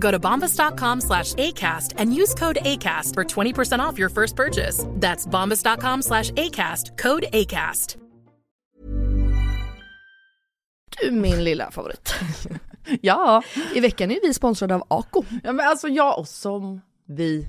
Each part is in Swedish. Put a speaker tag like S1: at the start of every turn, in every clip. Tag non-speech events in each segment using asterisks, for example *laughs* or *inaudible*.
S1: Go to bombas.com slash ACAST and use code ACAST for 20% off your first purchase. That's bombas.com slash ACAST, code ACAST.
S2: Du min lilla favorit.
S3: *laughs* Ja,
S2: I veckan är vi sponsrade av Ako.
S3: ja men alltså jag och som vi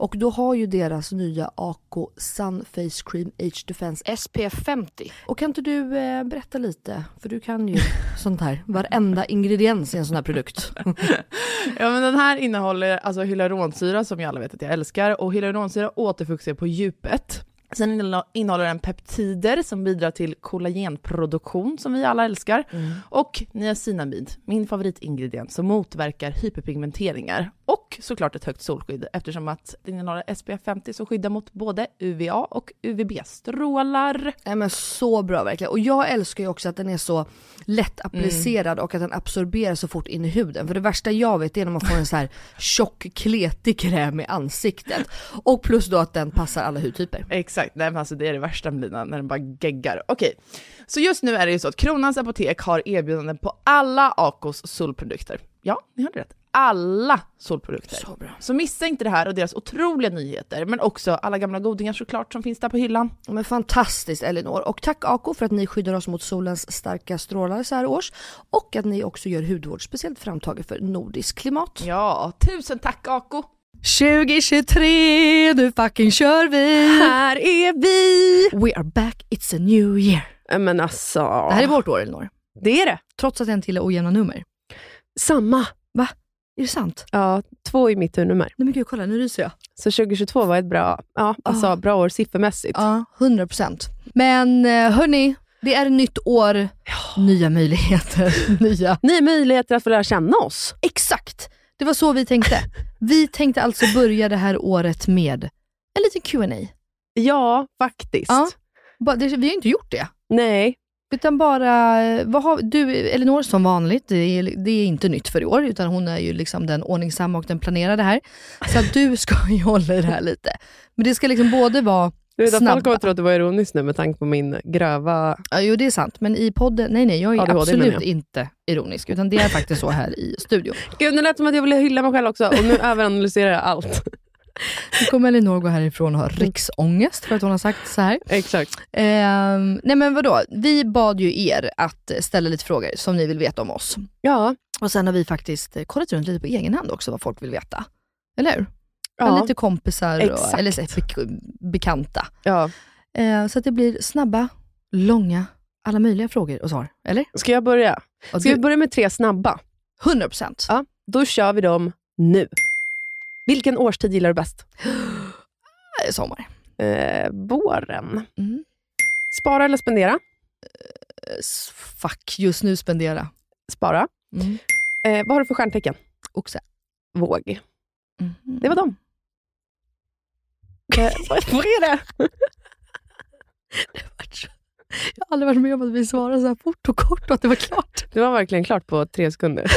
S2: Och då har ju deras nya AK Sun Face Cream Age Defense SPF 50. Och kan inte du eh, berätta lite, för du kan ju *laughs* sånt här, varenda ingrediens i en sån här produkt.
S3: Ja men den här innehåller alltså hyaluronsyra som jag alla vet att jag älskar och hyaluronsyra återfuktar på djupet. Sen innehå- innehåller den peptider som bidrar till kollagenproduktion som vi alla älskar. Och niacinamid, min favoritingrediens som motverkar hyperpigmenteringar. Och såklart ett högt solskydd eftersom att den innehåller SPF 50 som skyddar mot både UVA och UVB-strålar.
S2: Nej men så bra verkligen. Och jag älskar ju också att den är så lätt applicerad och att den absorberas så fort in i huden. För det värsta jag vet är när man får en så *laughs* här tjock kletig kräm i ansiktet. Och plus då att den passar alla hudtyper.
S3: Exakt, nej men alltså det är det värsta med lina, när den bara geggar. Okej, så just nu är det ju så att Kronans Apotek har erbjudanden på alla Acos solprodukter. Ja, ni hörde rätt. Alla solprodukter. Så, bra. så missa inte det här och deras otroliga nyheter, men också alla gamla godingar såklart som finns där på hyllan.
S2: Men fantastiskt Elinor. Och tack Ako för att ni skyddar oss mot solens starka strålar så här års. Och att ni också gör hudvård speciellt framtaget för nordisk klimat.
S3: Ja, tusen tack Ako!
S2: 2023, nu fucking kör vi!
S4: Här är vi!
S2: *laughs* We are back, it's a new year.
S4: Ja, Men alltså,
S2: Det här är vårt år Elinor.
S4: det är det.
S2: Trots att jag inte gillar ojämna nummer.
S4: Samma.
S2: Är det sant?
S4: Ja, två i mitt nummer.
S2: Nej men gud kolla nu ryser jag.
S4: Så 2022 var ett bra, ja, alltså,
S2: Ah.
S4: bra år siffermässigt.
S2: Ja, 100%. Men eh, hörni, det är ett nytt år, nya möjligheter, *laughs* nya...
S4: Nya möjligheter att få lära känna oss.
S2: Exakt! Det var så vi tänkte. Vi tänkte alltså börja det här året med en liten Q&A.
S4: Ja, faktiskt.
S2: Ja. Ba- det- Vi har inte gjort det.
S4: Nej,
S2: Utan bara, eh, vad har, du Elinor som vanligt, det är, det är inte nytt för i år, utan hon är ju liksom den ordningsamma och den planerade här. Så att du ska *laughs* ju hålla i det här lite. Men det ska liksom både vara
S4: du vet att
S2: Snabba.
S4: folk kommer att tro att det var ironiskt nu med tanke på min gröva...
S2: Ja, jo det är sant, men i podden, nej nej jag är
S4: ADHD menar
S2: absolut
S4: jag.
S2: inte ironisk, utan det är faktiskt så här i
S4: *laughs*
S2: studion.
S4: Gud, nu lät det som att jag ville hylla mig själv också och *laughs* nu överanalyserar jag allt.
S2: Nu kommer Elinor gå härifrån och ha
S4: Mm.
S2: riksångest för att hon har sagt så här.
S4: Exakt.
S2: Ehm, nej men vadå, vi bad ju er att ställa lite frågor som ni vill veta om oss.
S4: Ja,
S2: Och sen har vi faktiskt eh, kollat runt lite på egen hand också vad folk vill veta. Eller hur?
S4: ja, typ-
S2: Lite kompisar, och,
S4: Exakt.
S2: eller så, här, bek- bekanta.
S4: ja.
S2: Eh, så att det blir snabba, långa, alla möjliga frågor och svar. Eller?
S4: Ska jag börja?
S2: Och
S4: Ska vi
S2: du,
S4: börja med tre snabba?
S2: 100%.
S4: Ja. Då kör vi dem nu. Vilken årstid gillar du bäst?
S2: Eh, Sommar.
S4: Eh, våren.
S2: Mm.
S4: Spara eller spendera?
S2: Eh, s- Fuck, just nu spendera.
S4: Spara.
S2: Mm.
S4: Eh, vad har du för stjärntecken?
S2: Oxe.
S4: Våg.
S2: Mm.
S4: Det var dem. Eh, *laughs* vad, vad är det?
S2: Jag har aldrig varit med om att vi svarar så här fort och kort och att det var klart.
S4: Det var verkligen klart på tre sekunder.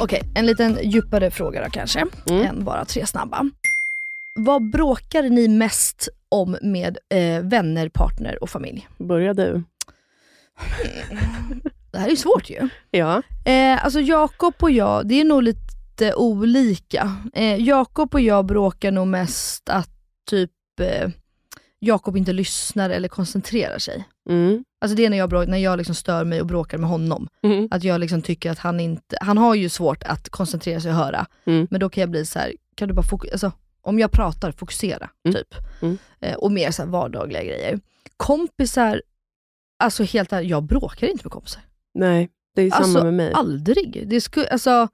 S2: Okej, en liten djupare fråga då kanske,
S4: Mm.
S2: än bara tre snabba. Vad bråkar ni mest om med eh, vänner, partner och familj?
S4: *laughs* Börja du.
S2: Det här är ju svårt ju.
S4: Ja.
S2: Eh, alltså Jakob och jag, det är nog lite olika. Eh, Jakob och jag bråkar nog mest att typ eh, Jakob inte lyssnar eller koncentrerar sig.
S4: Mm.
S2: Alltså det är när jag, brå- när jag liksom stör mig och bråkar med honom.
S4: Mm.
S2: Att jag liksom tycker att han inte, han har ju svårt att koncentrera sig och höra.
S4: Mm.
S2: Men då kan jag bli så här, kan du bara fokusera, alltså, om jag pratar, fokusera.
S4: Mm.
S2: typ.
S4: Mm.
S2: Eh, och mer så här vardagliga grejer. Kompisar, alltså helt ärligt, jag bråkar inte med kompisar.
S4: Nej, det är samma
S2: Alltså,
S4: med mig.
S2: Aldrig. Det skulle, alltså.
S4: Alltså,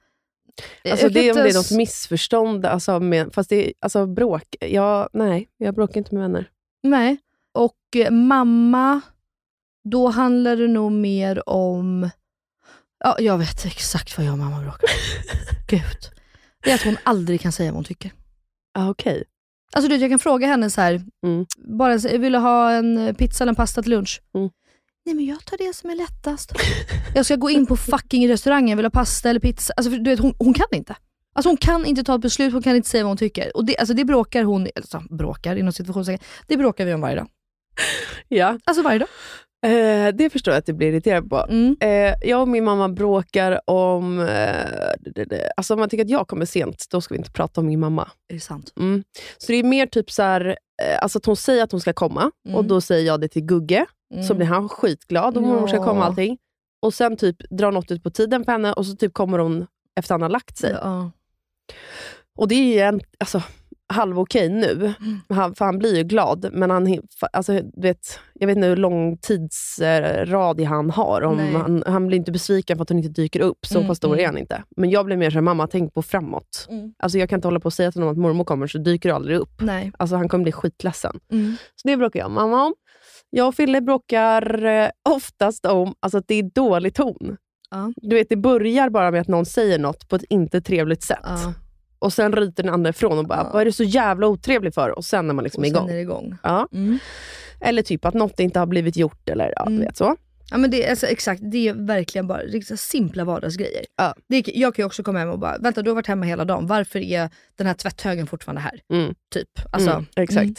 S2: jag kan
S4: det är om
S2: inte
S4: det är
S2: ens-
S4: något missförstånd, alltså, med, fast det är alltså, bråk. Jag, nej, jag bråkar inte med vänner.
S2: Nej. Och eh, mamma, då handlar det nog mer om... Ja, jag vet exakt vad jag och mamma bråkar om.
S4: *laughs*
S2: Gud. Det är att hon aldrig kan säga vad hon tycker.
S4: Ah, Okej.
S2: Alltså du vet, jag kan fråga henne så här,
S4: Mm.
S2: bara en, så- vill du ha en eh, pizza eller en pasta till lunch?
S4: Mm.
S2: Nej men jag tar det som är lättast. jag ska gå in på fucking restaurangen, vill ha pasta eller pizza? Alltså för du vet, hon, hon kan inte. Alltså hon kan inte ta ett beslut, hon kan inte säga vad hon tycker. Och det, alltså det bråkar hon, alltså bråkar inom situationstecken, det bråkar vi om varje dag.
S4: Ja.
S2: Alltså varje dag.
S4: Eh, det förstår jag att du blir irriterad på.
S2: Mm.
S4: Eh, jag och min mamma bråkar om... Eh, det- det- det- alltså om man tycker att jag kommer sent, då ska vi inte prata om min mamma.
S2: Är det sant?
S4: Mm. Så det är mer typ så här, eh, alltså att hon säger att hon ska komma, och
S2: Mm.
S4: då säger jag det till Gugge,
S2: Mm.
S4: så blir han skitglad om hon ska
S2: Ja.
S4: komma och allting. Och sen typ drar något ut på tiden för henne, och så typ kommer hon efter han har lagt sig.
S2: Ja.
S4: Och det är ju en, alltså, halv okej nu,
S2: Mm.
S4: han, för han blir ju glad. Men han, hin- fa- alltså, du vet, jag vet inte hur lång tidsradie han har. Om
S2: Nej.
S4: han, han blir inte besviken för att hon inte dyker upp. Så
S2: Mm,
S4: pass stor
S2: mm.
S4: är han inte. Men jag blir mer såhär, mamma tänk på framåt.
S2: Mm.
S4: Alltså, jag kan inte hålla på och säga till honom att mormor kommer, så dyker du aldrig upp.
S2: *laughs* Nej.
S4: Alltså, han kommer bli skitledsen.
S2: Mm.
S4: Så det bråkar jag och mamma om. Jag och Fille bråkar eh, oftast om alltså, att det är dålig ton.
S2: Ja.
S4: Du vet, det börjar bara med att någon säger något på ett inte trevligt sätt.
S2: Ja.
S4: Och sen ryter den andra ifrån och bara,
S2: Ja.
S4: vad är du så jävla otrevlig för? Och sen är man liksom
S2: Och
S4: igång.
S2: sen är det igång.
S4: Ja.
S2: Mm.
S4: Eller typ att något inte har blivit gjort eller ja,
S2: Mm.
S4: du vet så.
S2: Ja men det är alltså, exakt, det är verkligen bara riktigt simpla vardagsgrejer.
S4: Ja.
S2: Det, jag kan ju också komma hem och bara, vänta du har varit hemma hela dagen, varför är den här tvätthögen fortfarande här?
S4: Mm.
S2: Typ. Alltså,
S4: Mm, exakt.
S2: mm.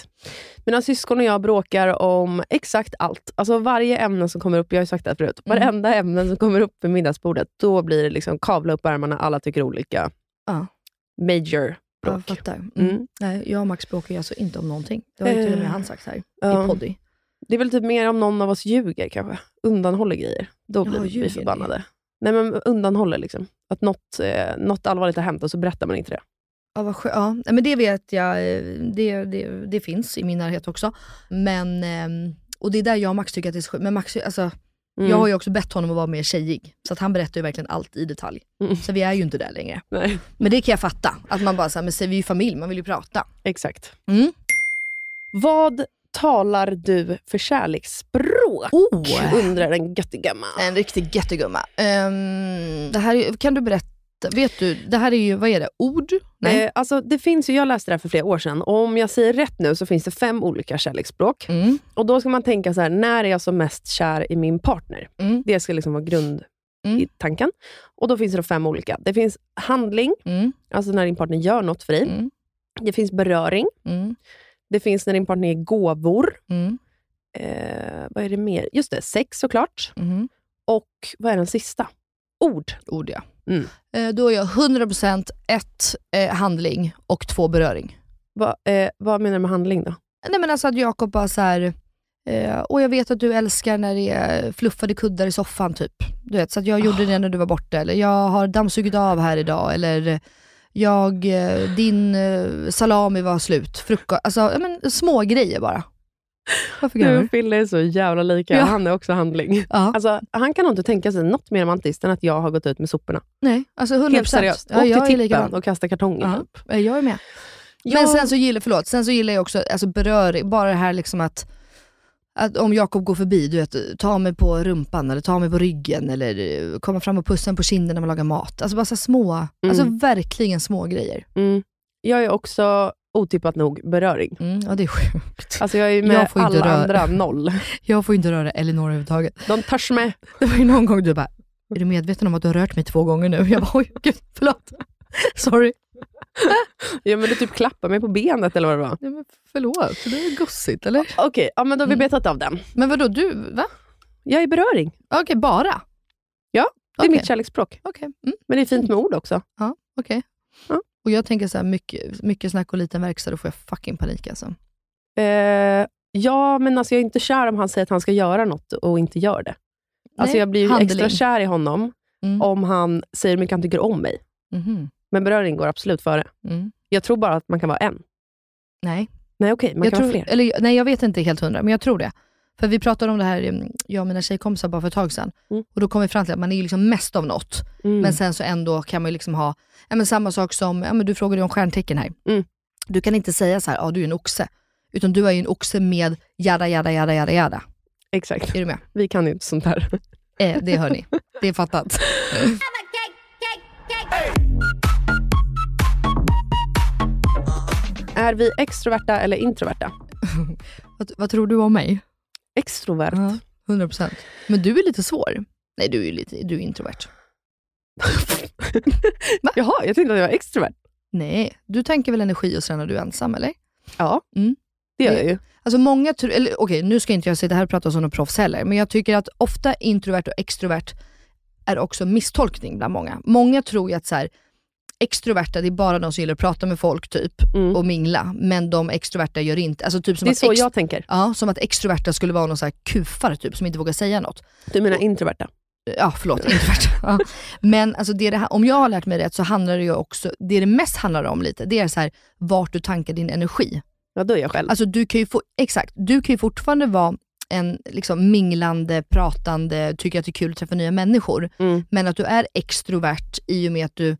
S4: Mina syskon och jag bråkar om exakt allt. Alltså varje ämne som kommer upp, jag har ju sagt det här förut,
S2: Mm.
S4: varenda ämne som kommer upp vid middagsbordet, då blir det liksom kavla upp ärmarna, alla tycker olika.
S2: Ja.
S4: Major
S2: Jag
S4: bråk.
S2: fattar. Mm.
S4: Mm.
S2: Nej, jag och Max bråkar ju alltså inte om någonting. Det har ju till och med
S4: Eh.
S2: han sagt här i
S4: Ja.
S2: poddy.
S4: Det är väl typ mer om någon av oss ljuger kanske. Undanhåller grejer. Då
S2: Ja,
S4: blir
S2: ljuger ni?
S4: vi förbannade. Nej men undanhåller liksom. Att något, eh, något allvarligt har hänt och så berättar man inte det.
S2: Ja, vad skö- ja. Nej, men det vet jag, eh, det, det, det finns i min närhet också. Men, ehm, och det är där jag och Max tycker att det är så skönt. Men Max, alltså,
S4: Mm.
S2: jag har ju också bett honom att vara mer tjejig. Så att han berättar ju verkligen allt i detalj.
S4: Mm.
S2: Så vi är ju inte där längre.
S4: *laughs* Nej.
S2: Men det kan jag fatta. Att man bara såhär, men säg, vi är ju familj, man vill ju prata.
S4: Exakt.
S2: Mm.
S4: Vad talar du för kärleksspråk?
S2: Oh.
S4: Undrar en göttigamma.
S2: En riktig göttegumma. Ehm, det här är, kan du berätta, vet du, det här är ju, vad är det, ord? Nej.
S4: Eh, alltså, det finns ju, jag läste det här för flera år sedan. Och om jag säger rätt nu så finns det fem olika kärleksspråk.
S2: Mm.
S4: Och Då ska man tänka så här, när är jag som mest kär i min partner?
S2: Mm.
S4: Det ska liksom vara grund
S2: Mm.
S4: i tanken. Och Då finns det då fem olika. Det finns handling,
S2: Mm.
S4: alltså när din partner gör något för dig.
S2: Mm.
S4: Det finns beröring.
S2: Mm.
S4: Det finns när din partner ger gåvor.
S2: Mm.
S4: Eh, vad är det mer? Just det, sex såklart.
S2: Mm.
S4: Och vad är den sista? Ord.
S2: Ord ja.
S4: Mm.
S2: Eh, då är jag 100% ett eh, handling och två beröring.
S4: Va, eh, vad menar du med handling då?
S2: Nej men alltså att Jakob bara såhär, Eh, och jag vet att du älskar när det är fluffade kuddar i soffan typ. Du vet, så att jag gjorde det när du var borta, eller jag har dammsugit av här idag, eller jag, eh, din eh, salami var slut, frukost, alltså ja, men, små grejer bara. Varför
S4: Du
S2: gräver
S4: och Fille är så jävla lika.
S2: Ja.
S4: Han är också handling.
S2: Ja,
S4: Alltså, han kan nog inte tänka sig något mer romantiskt än att jag har gått ut med soporna.
S2: nej, alltså 100%.
S4: Helt seriöst.
S2: Ja,
S4: Åk
S2: jag är
S4: till tippen
S2: likadan.
S4: och kasta kartonger.
S2: Ja.
S4: Typ.
S2: Eh, Jag är med. Men sen så gillar, förlåt, sen så gillar jag också alltså beröring, bara det här liksom att, att om Jakob går förbi, du vet, ta mig på rumpan eller ta mig på ryggen eller eh, komma fram och pussa en på kinden när man lagar mat. Alltså bara så här små, alltså verkligen små grejer.
S4: Mm. Jag är också otippat nog beröring.
S2: Mm, ja det är sjukt.
S4: Alltså jag är ju med
S2: Jag får inte
S4: alla
S2: röra-
S4: andra noll.
S2: *laughs* Jag får inte röra Elinor överhuvudtaget.
S4: De törs med.
S2: Det var ju någon gång du bara, är du medveten om att du har rört mig två gånger nu? Jag bara, oj gud, förlåt. *laughs* Sorry.
S4: Ja, men du typ klappar mig på benet eller vad det var.
S2: Nej, men förlåt, det är gussigt eller?
S4: Okej, ja, men då
S2: Mm.
S4: har vi betat av den.
S2: Men vadå, du, va?
S4: Jag är beröring.
S2: Okej, bara?
S4: Ja, Det är
S2: Okej.
S4: mitt kärleksspråk.
S2: Okej. Mm.
S4: Men det är fint med ord också.
S2: Ja, okej.
S4: Ja.
S2: Och jag tänker så här, mycket, mycket snack och liten verkstad, då får jag fucking panik alltså.
S4: Eh, ja, men alltså jag är inte kär om han säger att han ska göra något och inte gör det. Alltså
S2: Nej,
S4: jag blir ju
S2: handling.
S4: extra kär i honom
S2: Mm.
S4: om han säger hur mycket han tycker om mig.
S2: Mhm.
S4: Men beröring går absolut före.
S2: Mm.
S4: Jag tror bara att man kan vara en.
S2: Nej.
S4: Nej, okej, man
S2: Jag
S4: kan
S2: tror,
S4: vara fler.
S2: eller, nej, jag vet inte helt hundra, men jag tror det. För vi pratade om det här, mm, jag och mina tjejkompisar, bara för ett tag sedan.
S4: Mm.
S2: Och då kom vi fram till att man är liksom mest av något,
S4: Mm.
S2: men sen så ändå kan man ju liksom ha, ja, men samma sak som, ja, men du frågade ju om stjärntecken här.
S4: Mm.
S2: Du kan inte säga så här, ja du är en oxe. Utan du är ju en oxe med jada, jada, jada, jada, jada.
S4: Exakt.
S2: Är du med?
S4: Vi kan ju inte sånt här.
S2: Eh, det hör ni. Det är fattat.
S4: *laughs* Är vi extroverta eller introverta?
S2: vad, vad tror du om mig?
S4: Extrovert.
S2: Ja, 100 procent. Men du är lite svår. Nej, du är ju lite, du är introvert.
S4: Jaha, jag tänkte att jag var extrovert.
S2: Nej, du tänker väl energi och sen när du är ensam, eller?
S4: Ja,
S2: Mm.
S4: det gör
S2: Det-
S4: jag ju.
S2: Alltså många tror, eller okej, nu ska inte jag sitta här och prata som någon proffs heller, men jag tycker att ofta introvert och extrovert är också misstolkning bland många. Många tror ju att så här, extroverta, det är bara de som gillar att prata med folk typ
S4: Mm.
S2: och mingla, men de extroverta gör inte, alltså typ som
S4: Det är
S2: att
S4: så
S2: ex-
S4: jag tänker.
S2: Ja, som att extroverta skulle vara någon så här kufare typ, som inte vågar säga något.
S4: Du menar introverta?
S2: ja förlåt, introvert.
S4: *laughs*
S2: Ja. Men alltså det är det här, om jag har lärt mig rätt så handlar det ju också, det det mest handlar om lite, det är så här, vart du tankar din energi.
S4: Ja, då är jag själv.
S2: Alltså du kan ju, få, exakt, du kan ju fortfarande vara en liksom minglande, pratande, tycker att det är kul att träffa nya människor.
S4: Mm.
S2: Men att du är extrovert i och med att du,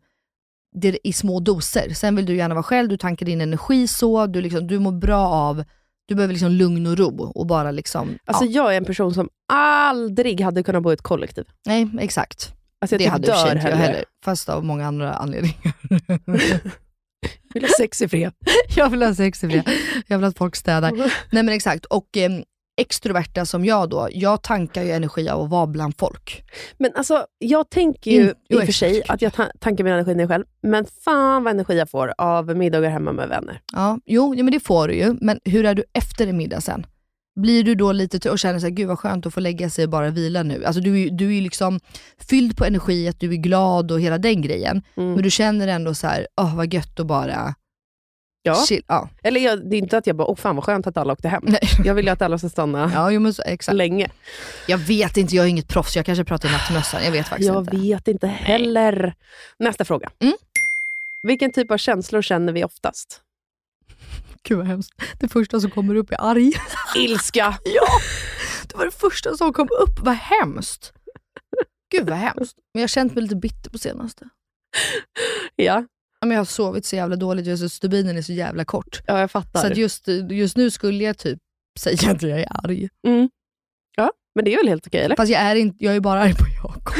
S2: det är i små doser. Sen vill du gärna vara själv, du tankar din energi så, du, liksom, du mår bra av, du behöver liksom lugn och ro och bara liksom,
S4: Alltså,
S2: ja,
S4: Jag är en person som aldrig hade kunnat bo i ett kollektiv.
S2: nej exakt.
S4: Alltså, jag
S2: det
S4: typ
S2: hade i och för
S4: dör
S2: sig inte jag
S4: hellre.
S2: heller, fast av många andra anledningar.
S4: Vill ha sex i fred.
S2: jag vill ha sex i fred. jag vill att folk städar. *laughs* Nej men exakt, och eh, extroverta som jag då, jag tankar ju energi av att vara bland folk.
S4: Men alltså, jag tänker ju
S2: In-
S4: i och
S2: oj.
S4: för sig att jag ta- tankar min energi när jag är själv, men fan vad energi jag får av middagar hemma med vänner.
S2: Ja, jo, ja, men det får du ju, men hur är du efter en middag sen? Blir du då lite trött och känner såhär, gud vad skönt att få lägga sig och bara vila nu. Alltså du, är ju- du är ju liksom fylld på energi, att du är glad och hela den grejen.
S4: Mm.
S2: Men du känner ändå så här, åh vad gött att bara
S4: Ja.
S2: chill. Ja, *laughs*
S4: Eller jag, det är inte att jag bara, åh fan vad skönt att alla åkte hem.
S2: nej.
S4: Jag vill ju att alla ska stanna
S2: ja jo, men så, exakt.
S4: länge.
S2: Jag vet inte, jag är inget proffs. Jag kanske pratar i nattmössan. Jag vet faktiskt
S4: jag
S2: inte.
S4: vet inte heller. Nästa fråga.
S2: Mm.
S4: Vilken typ av känslor känner vi oftast?
S2: Gud vad hemskt. Det första som kommer upp är arg.
S4: Ilska.
S2: *laughs* Det var det första som kom upp. Vad hemskt. Gud vad hemskt. Men jag har känt mig lite bitter på senaste.
S4: Ja,
S2: Ja, Men jag har sovit så jävla dåligt. Just att stubinen är så jävla kort.
S4: ja jag fattar.
S2: Så att just, just nu skulle jag typ säga att jag är arg.
S4: mm. Ja, men det är väl helt okej eller?
S2: Fast jag är, inte, jag är bara arg på Jakob.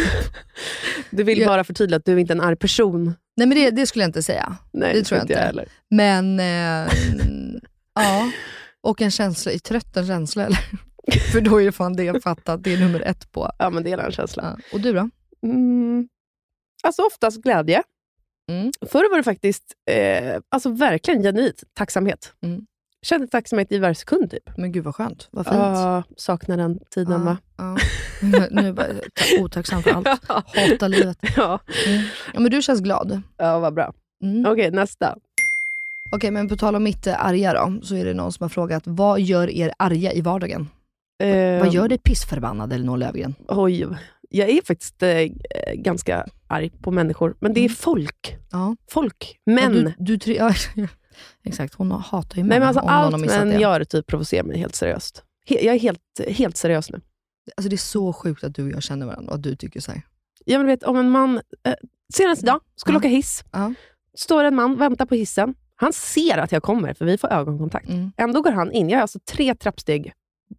S4: Du vill
S2: jag-
S4: bara förtydliga att du är inte är en arg person.
S2: Nej men det, det skulle jag inte säga.
S4: Nej,
S2: Det tror jag inte.
S4: heller.
S2: Men eh, ja, och en känsla, trött en känsla eller? *laughs* För då är det fan det jag fattat, det är nummer ett på.
S4: Ja, men det är en känsla.
S2: Ja. Och du då?
S4: Mm. Alltså oftast glädje.
S2: Mm.
S4: Förr var det faktiskt eh, alltså verkligen genuint tacksamhet.
S2: Mm.
S4: Kände tacksamhet i varje sekund typ.
S2: Men gud vad skönt, vad fint.
S4: Ja, saknar den tiden va? *laughs*
S2: Ja. Nu är jag bara otacksam för allt. Hata livet.
S4: ja.
S2: Mm. Ja, men du känns glad.
S4: ja, vad bra.
S2: Mm. Okej,
S4: Okej, nästa.
S2: men på tal om mitt eh, arga då, så är det någon som har frågat, vad gör er arga i vardagen?
S4: Eh,
S2: Vad gör dig pissförbannad Elinor Löfgren?
S4: Oj, jag är faktiskt eh, ganska arg på människor, men det är folk.
S2: Mm. Ja.
S4: Folk.
S2: Ja,
S4: Män.
S2: Du, du tri- *laughs* ja, exakt, hon hatar ju män.
S4: Nej, men alltså,
S2: om någon har
S4: allt
S2: missat
S4: män
S2: det.
S4: gör typ provocerar mig helt seriöst. He- jag är helt, helt seriös nu.
S2: Alltså, det är så sjukt att du och jag känner varandra och att du tycker så här.
S4: Jag vill veta om en man, eh, senast idag, skulle
S2: Ja.
S4: åka hiss.
S2: Ja.
S4: Står en man, väntar på hissen. Han ser att jag kommer, för vi får ögonkontakt.
S2: Mm.
S4: Ändå går han in. Jag är alltså tre trappsteg,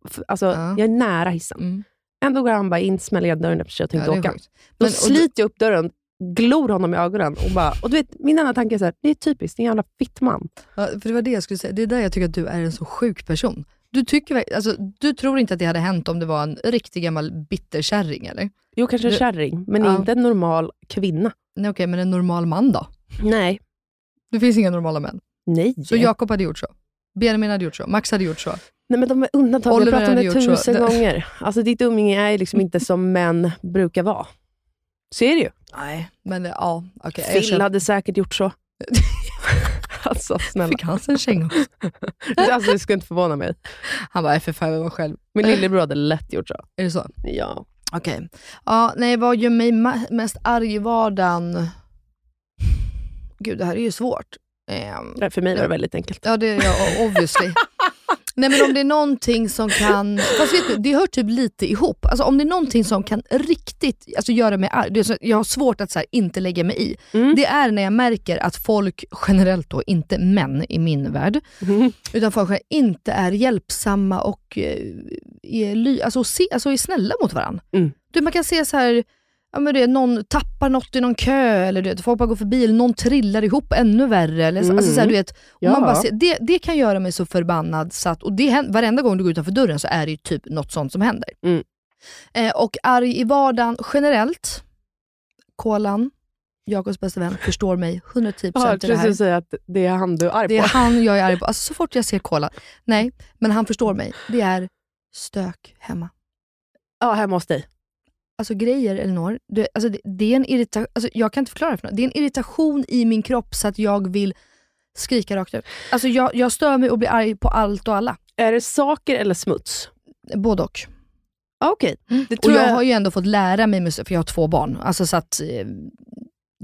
S4: f- alltså,
S2: Ja.
S4: jag är nära hissen.
S2: Mm.
S4: Ändå går han bara in, smäller igen dörren eftersom jag
S2: Ja,
S4: tänkte
S2: det är
S4: åka.
S2: sjukt.
S4: Typ Då
S2: Men- och
S4: sliter jag upp dörren, glor honom i ögonen och bara... Och du vet, min enda tanke är så här, det är typiskt, det är en jävla fittman.
S2: Ja, för det var det jag skulle säga. Det är där jag tycker att du är en så sjuk person. Du, tycker, verk- alltså, du tror inte att det hade hänt om det var en riktig gammal bitterkärring eller?
S4: Jo, kanske en
S2: Du-
S4: kärring, men
S2: Ja.
S4: inte en normal kvinna.
S2: Nej okej, men en normal man då?
S4: Nej.
S2: Det finns inga normala män.
S4: Nej.
S2: Så Jakob hade gjort så. Benjamin hade gjort så. Max hade gjort så.
S4: Nej men de är undantag, jag
S2: Oliver
S4: pratat om
S2: hade
S4: det
S2: gjort så.
S4: tusen
S2: Det-
S4: gånger. Alltså ditt umgänge är ju liksom *laughs* inte som män brukar vara. Så är det ju.
S2: Nej. Men eh, ja, okej. jag
S4: Phil
S2: känner-
S4: hade säkert gjort *laughs* så. alltså snälla.
S2: Fick han sig en känga?
S4: Alltså, det skulle inte förvåna mig.
S2: Han bara, "Nej, för fan jag var själv.
S4: Min lillebror hade lätt gjort så.
S2: Är det så?
S4: Ja.
S2: Okej. Ja, nej, vad gör mig ma- mest arg i vardagen? Gud, det här är ju svårt. Ehm,
S4: Nej, För mig var det väldigt enkelt.
S2: Ja, det är jag
S4: *laughs*
S2: obviously. Nej men om det är någonting som kan, fast vet du, det hör typ lite ihop. Alltså om det är någonting som kan riktigt alltså, göra mig arg, det är så, jag har svårt att så här, inte lägga mig i.
S4: Mm.
S2: Det är när jag märker att folk generellt då, inte män i min värld,
S4: Mhm.
S2: utan folk inte är hjälpsamma och eh, är, ly- alltså, se, alltså, är snälla mot varandra.
S4: Mm.
S2: Du, man kan se så här, ja, men det, någon tappar något i någon kö, eller du vet, folk bara går förbi, eller någon trillar ihop ännu värre. Eller så, alltså, så här,
S4: Mm.
S2: du vet, och
S4: Ja.
S2: man bara ser, det, det kan göra mig så förbannad, så att, och det, hän- varenda gång du går utanför dörren så är det ju typ något sånt som händer.
S4: Mm.
S2: Eh, och arg i vardagen generellt, kolan, Jakobs bästa vän, förstår mig 110%
S4: Jag
S2: i det
S4: precis
S2: här.
S4: att säga att det är han du är arg
S2: Det är
S4: på.
S2: han jag är arg på. Alltså, så fort jag ser Kola. Nej, men han förstår mig. Det är stök hemma.
S4: Ja, hemma hos dig.
S2: Alltså grejer, Elinor. Det, alltså, det, det är en irritation. Alltså, jag kan inte förklara det för någon. Det är en irritation i min kropp så att jag vill skrika rakt ut. Alltså, jag, jag stör mig och blir arg på allt och alla.
S4: Är det saker eller smuts?
S2: Både och.
S4: Ah, Okej. Det
S2: Och
S4: tror
S2: jag
S4: jag...
S2: har ju ändå fått lära mig, musik, för jag har två barn, alltså så att eh,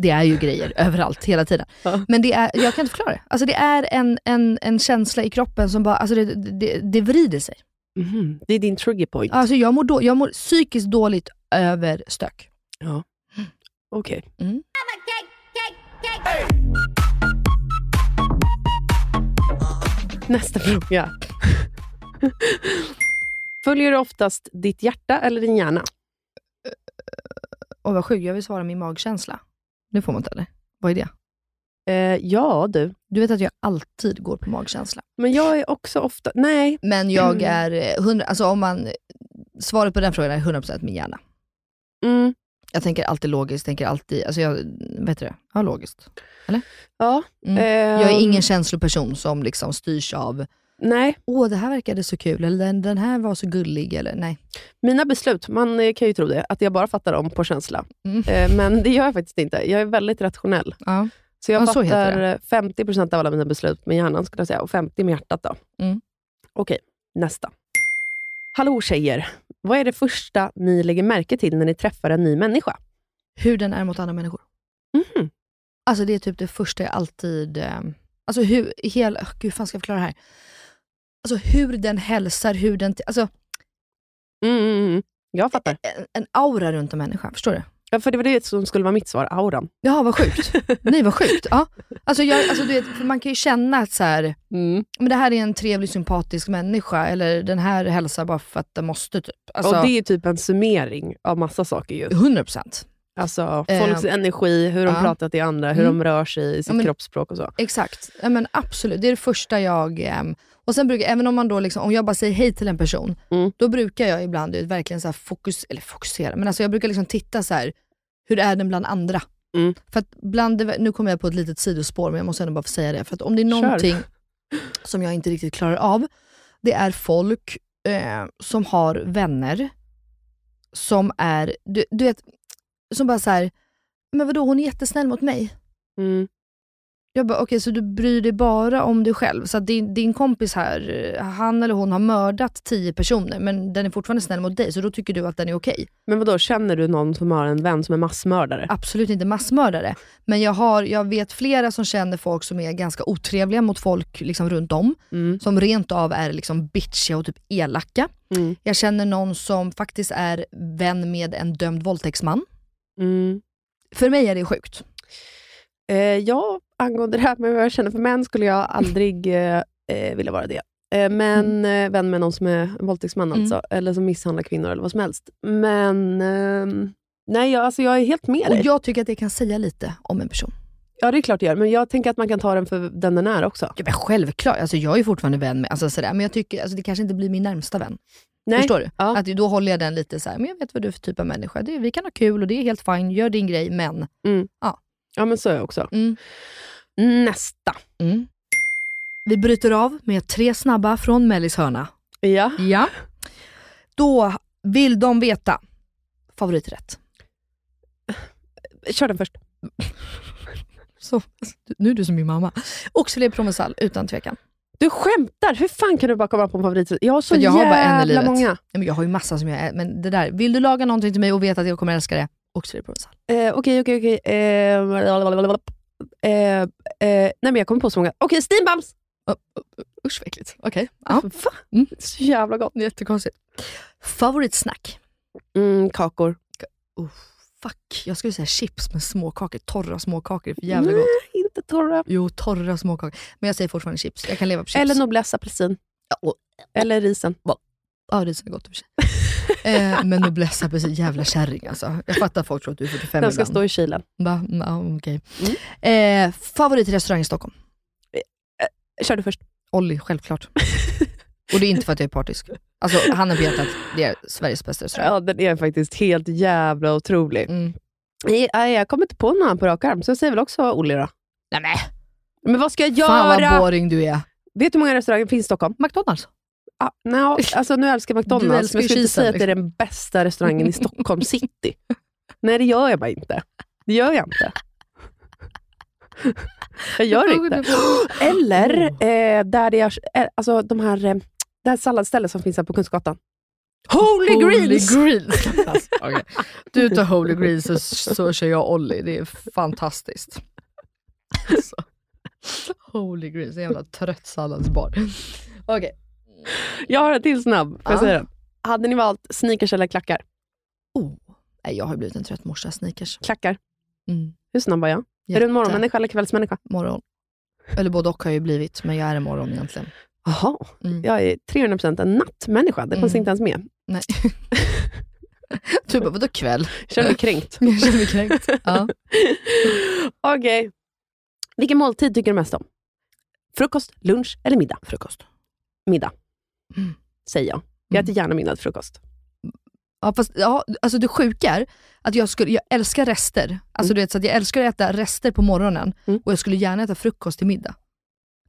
S2: det är ju grejer *laughs* överallt, hela tiden.
S4: Ja.
S2: Men det är, jag kan inte förklara det. Alltså det är en, en, en känsla i kroppen som bara, alltså det, det, det vrider sig.
S4: Mhm. Det är din trigger point.
S2: Alltså jag mår, då, jag mår psykiskt dåligt över stök.
S4: Okej.
S2: Mm.
S4: Nästa fråga. Följer du oftast ditt hjärta eller din hjärna?
S2: Och vad sjukt, jag vill svara min magkänsla. Nu får man inte det. Vad är det?
S4: Eh, ja, du.
S2: Du vet att jag alltid går på magkänsla.
S4: Men jag är också ofta... Nej.
S2: Men jag är, eh, 100, alltså om man, svaret på den frågan är 100% min hjärna.
S4: Mm.
S2: Jag tänker alltid logiskt, tänker alltid, alltså jag, vet du det? Ja, logiskt.
S4: Ja.
S2: Mm.
S4: ehm,
S2: Jag är ingen känsloperson som liksom styrs av,
S4: Nej.
S2: åh det här verkade så kul, eller den, den här var så gullig, eller nej.
S4: Mina beslut, man eh, kan ju tro det, att jag bara fattar dem på känsla.
S2: Mm.
S4: Eh, men det gör jag faktiskt inte. Jag är väldigt rationell.
S2: Ja.
S4: Så jag
S2: Ja, så heter
S4: fattar eh, 50% av alla mina beslut med hjärnan skulle jag säga, och 50% med hjärtat. Då.
S2: Mm.
S4: Okej, nästa. Hallå tjejer! Vad är det första ni lägger märke till när ni träffar en ny människa?
S2: Hur den är mot andra människor.
S4: Mhm.
S2: Alltså det är typ det första jag alltid... eh, Alltså hur, hel, oh, gud hur fan ska jag förklara det här? Alltså hur den hälsar, hur den... Alltså
S4: Mm, mm, mm. Jag fattar.
S2: en, en aura runt en människa, förstår du?
S4: Ja, för det var det som skulle vara mitt svar, auran.
S2: Jaha, vad sjukt. Nej, vad sjukt. Ja. Alltså, jag, alltså, du vet, för man kan ju känna att så här, men det här är en trevlig, sympatisk människa, eller den här hälsar bara för att den måste. Typ. Alltså,
S4: och det är ju typ en summering av massa saker. ju.
S2: 100%.
S4: Alltså
S2: Eh,
S4: folks energi, hur de
S2: ja.
S4: pratar till andra, hur
S2: Mm.
S4: de rör sig i sitt
S2: Ja, men-
S4: kroppsspråk och så.
S2: Exakt, ja, men absolut. Det är det första jag... ehm, och sen brukar, även om man då liksom, om jag bara säger hej till en person,
S4: Mm.
S2: då brukar jag ibland du vet, verkligen så här fokus, eller fokusera, men alltså jag brukar liksom titta så här, hur är den bland andra?
S4: Mm.
S2: För att bland det, nu kommer jag på ett litet sidospår, men jag måste ändå bara få säga det. För att om det är
S4: Kör. *laughs*
S2: någonting som jag inte riktigt klarar av, det är folk eh, som har vänner som är, du, du vet, som bara så här, men vadå hon är jättesnäll mot mig.
S4: Mm.
S2: Jag bara, okej så du bryr dig bara om dig själv? Så att din, din kompis här, eh, han eller hon har mördat tio personer men den är fortfarande snäll mot dig så då tycker du att den är okej?
S4: Men vadå, känner du någon som har en vän som är massmördare?
S2: Absolut inte massmördare, men jag, har, jag vet flera som känner folk som är ganska otrevliga mot folk liksom runt om.
S4: Mm.
S2: Som rent av är liksom bitchiga och typ elaka.
S4: Mm.
S2: Jag känner någon som faktiskt är vän med en dömd våldtäktsman.
S4: Mm.
S2: För mig är det sjukt.
S4: Eh, ja, angående det här med vad jag känner för män skulle jag
S2: *laughs*
S4: aldrig eh, eh, vilja vara det. Eh, men eh, vän med någon som är våldtäktsman
S2: Mm.
S4: alltså, eller som misshandlar kvinnor eller vad som helst. Men ehm, nej, jag, alltså, jag är helt med
S2: Och
S4: dig.
S2: jag tycker att det kan säga lite om en person.
S4: Ja, det är klart jag gör. Men jag tänker att man kan ta den för den den är också.
S2: Ja, men självklart, alltså, jag är fortfarande vän med, alltså, sådär. men jag tycker alltså, det kanske inte blir min närmsta vän.
S4: Nej.
S2: Förstår du?
S4: Ja.
S2: Att då håller jag den lite så här, men jag vet vad du är för typ av människa. Det, vi kan ha kul och det är helt fine, gör din grej, men...
S4: Ja, men så är jag också.
S2: Mm.
S4: Nästa.
S2: Mm. Vi bryter av med tre snabba från Mellis hörna.
S4: Ja.
S2: Ja. Då vill de veta favoriträtt.
S4: Kör den först.
S2: Så, nu är du som min mamma. Oxfilé provençal, utan tvekan.
S4: Du skämtar! Hur fan kan du bara komma på en favorit? Jag har så
S2: För jag har
S4: jävla
S2: bara en i livet.
S4: många.
S2: Nej, men jag har ju massa som jag är, men det där. Vill du laga någonting till mig och veta att jag kommer älska det? Oxfilé provençal.
S4: Eh, Okej, okej, okej. Eh, blablabla. Eh, eh, nej, men jag kommer på så många. Okej, steampams!
S2: Usch vad äckligt. Okej. Ja.
S4: Va?
S2: Mm.
S4: Så jävla gott.
S2: Jättekonstigt. Favoritsnack?
S4: Mm, kakor.
S2: Oh, fuck, jag skulle säga chips med småkakor. Torra småkakor är för jävla
S4: Nej,
S2: gott.
S4: Inte torra.
S2: Jo, torra småkakor. Men jag säger fortfarande chips. Jag kan leva på chips.
S4: Eller noblesse apelsin.
S2: Ja, och-
S4: Eller risen.
S2: Ja, det är gott i och för sig. eh, men noblesse apelsin, jävla kärring alltså. Jag fattar att folk tror att du är 45
S4: Den ska
S2: ibland.
S4: stå i Mm. kylen.
S2: Va? Mm, Ja, okej. eh, favoritrestaurang i Stockholm?
S4: Kör du först.
S2: Olli,
S4: *laughs*
S2: självklart. Och det är inte för att jag är partisk. Alltså, handen på hjärtat, det är Sveriges bästa restaurang.
S4: Ja, den är faktiskt helt jävla otrolig.
S2: Mm.
S4: Nej, nej, jag kommer inte på någon annan på rak arm, så jag säger väl också Olle då.
S2: Nej, men,
S4: Men vad ska jag
S2: fan
S4: göra?
S2: vad boring du är.
S4: Vet du hur många restauranger finns i Stockholm?
S2: McDonalds.
S4: Ah, *laughs* no, alltså nu älskar jag McDonalds,
S2: Du
S4: men jag
S2: älskar
S4: skulle
S2: ju
S4: inte
S2: cheesen,
S4: säga att det är den bästa restaurangen i *laughs* Stockholm city. Nej, det gör jag bara inte. Det gör jag inte. Jag *laughs* gör det inte. Eller eh, där det görs, eh, alltså de här, eh, det här salladsstället som finns här på Kungsgatan. Holy, Greens!
S2: Holy Greens. Alltså, okej. Du tar Holy Greens så, så kör jag Olli. Det är fantastiskt. Alltså. Holy Greens, en jävla trött salladsbar. Okej.
S4: Jag har en till snabb. Får jag
S2: Ja.
S4: säga den? Hade ni valt sneakers eller klackar?
S2: Oh. Nej, jag har blivit en trött morsa, sneakers.
S4: Klackar.
S2: Mm.
S4: Hur snabb var jag? Är du en morgonmänniska eller kvällsmänniska?
S2: Morgon. Eller både och har jag ju blivit, men jag är en morgon egentligen.
S4: Jaha,
S2: Mm.
S4: jag är 300% en nattmänniska. Det fanns
S2: Mm.
S4: inte ens med.
S2: Nej. *laughs* du bara, vadå kväll?
S4: Jag känner mig *laughs* kränkt.
S2: Jag känner mig kränkt. Ja.
S4: Okej. Vilken måltid tycker du mest om? Frukost, lunch eller middag? Frukost. Middag,
S2: Mm.
S4: säger jag. Jag
S2: Mm.
S4: äter gärna middag till frukost.
S2: Ja, fast, ja, alltså det sjuka är att jag, skulle, jag älskar rester. Alltså, du vet, så att jag älskar att äta rester på morgonen
S4: Mm.
S2: och jag skulle gärna äta frukost till middag.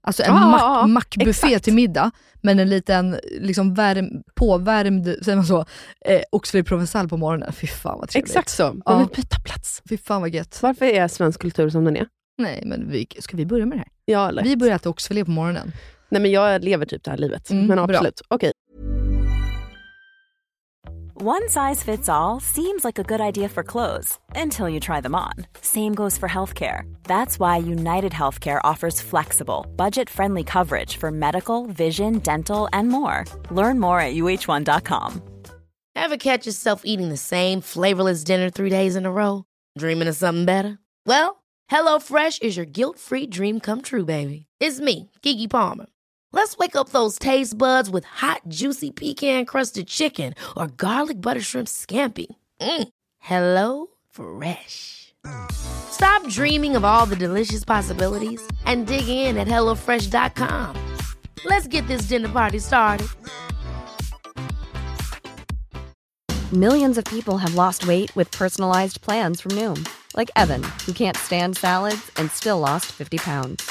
S2: Alltså en
S4: Ja,
S2: mack,
S4: ja, ja.
S2: mackbuffé
S4: ah. Exakt.
S2: till middag, men en liten liksom värm, påvärmd säger man så, eh, oxfilé provençal på morgonen. Fy fan vad trevligt.
S4: Exakt så.
S2: Ja.
S4: Men vi byter plats.
S2: Fy fan vad gött.
S4: Varför är svensk kultur som den är?
S2: Nej, men vi, ska vi börja med det här?
S4: Ja, eller?
S2: Vi börjar äta oxfilé på morgonen.
S4: Nej, men jag lever typ det här livet.
S2: Mm,
S4: men
S2: bra.
S4: absolut. Okej.
S5: One size fits all seems like a good idea for clothes until you try them on. Same goes for healthcare. That's why United Healthcare offers flexible, budget friendly coverage for medical, vision, dental, and more. Learn more at uh1.com.
S6: Ever catch yourself eating the same flavorless dinner three days in a row? Dreaming of something better? Well, HelloFresh is your guilt free dream come true, baby. It's me, Gigi Palmer. Let's wake up those taste buds with hot, juicy pecan crusted chicken or garlic butter shrimp scampi. Mm. Hello Fresh. Stop dreaming of all the delicious possibilities and dig in at HelloFresh.com. Let's get this dinner party started.
S7: Millions of people have lost weight with personalized plans from Noom, like Evan, who can't stand salads and still lost 50 pounds.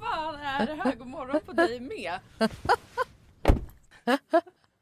S3: Fan är det här? God morgon på dig med.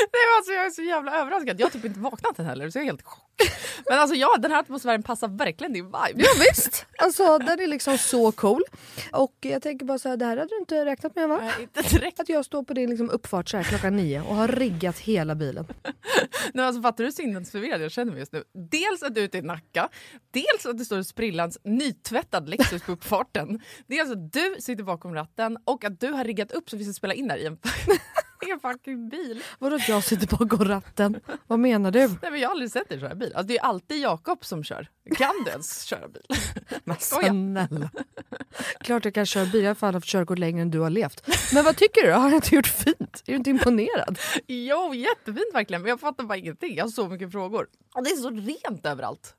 S3: Nej, men alltså, jag är så jävla överraskad. Jag har typ inte vaknat än heller så jag är helt i chock. Men alltså ja, den här atmosfären passar verkligen din vibe.
S2: Ja, visst, alltså den är liksom så cool. Och jag tänker bara så här, det här hade du inte räknat med va?
S3: Nej, *laughs* inte direkt.
S2: Att jag står på din liksom uppfart så här klockan nio och har riggat hela bilen.
S3: Nej, alltså, fattar du hur sinnesförvirrad jag känner mig just nu? Dels att du är ute i Nacka, dels att det står en sprillans nytvättad Lexus på uppfarten. *laughs* Dels att du sitter bakom ratten och att du har riggat upp så vi ska spela in där i en, *laughs* i en fucking bil.
S2: Vadå att jag sitter bakom ratten? Vad menar du?
S3: Nej, men jag har aldrig sett dig köra bil. Alltså, det är alltid Jakob som kör. Kan du ens köra bil?
S2: Men
S3: Skoja.
S2: snälla. Klart jag kan köra bil, jag har fan haft körkort längre än du har levt. Men vad tycker du? Har jag inte gjort fint? Är du inte imponerad?
S3: Jo, jättefint verkligen. Men jag fattar bara ingenting. Jag har så mycket frågor. Och det är så rent överallt.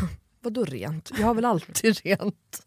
S2: *laughs* Vadå rent? Jag har väl alltid *laughs* rent.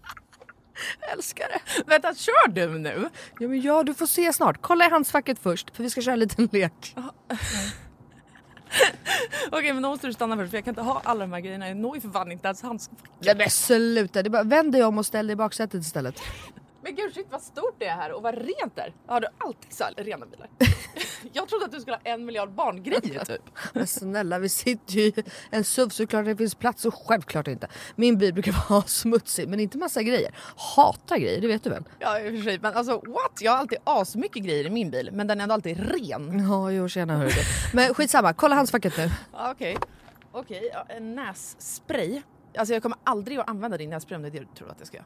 S2: Älskar det.
S3: Vänta, kör du nu?
S2: Ja, men ja, du får se snart. Kolla i handskfacket först, för vi ska köra en liten lek.
S3: Okej, men då måste du stanna först för jag kan inte ha alla de här grejerna. Jag når ju för fan inte ens hans...
S2: Nej men sluta, det är bara, vänd dig om och ställ dig i baksätet istället.
S3: Men gud shit vad stort det är här och vad rent det är. Har du alltid så här rena
S4: *laughs*
S3: bilar? jag trodde att du skulle ha en miljard barngrejer typ.
S2: *laughs* Men snälla vi sitter ju i en SUV såklart det finns plats och självklart inte. Min bil brukar *laughs* vara smutsig men inte massa grejer. Hatar grejer, det vet du väl?
S3: Ja i och för sig, men alltså what? Jag har alltid asmycket grejer i min bil men den är ändå alltid ren.
S2: Ja, jo tjena hörru du. Men skitsamma, kolla handskfacket nu.
S3: Ja, Okej, okej. ja, en nässpray. Alltså jag kommer aldrig att använda din nässpray om det är det du tror att *laughs* jag ska göra.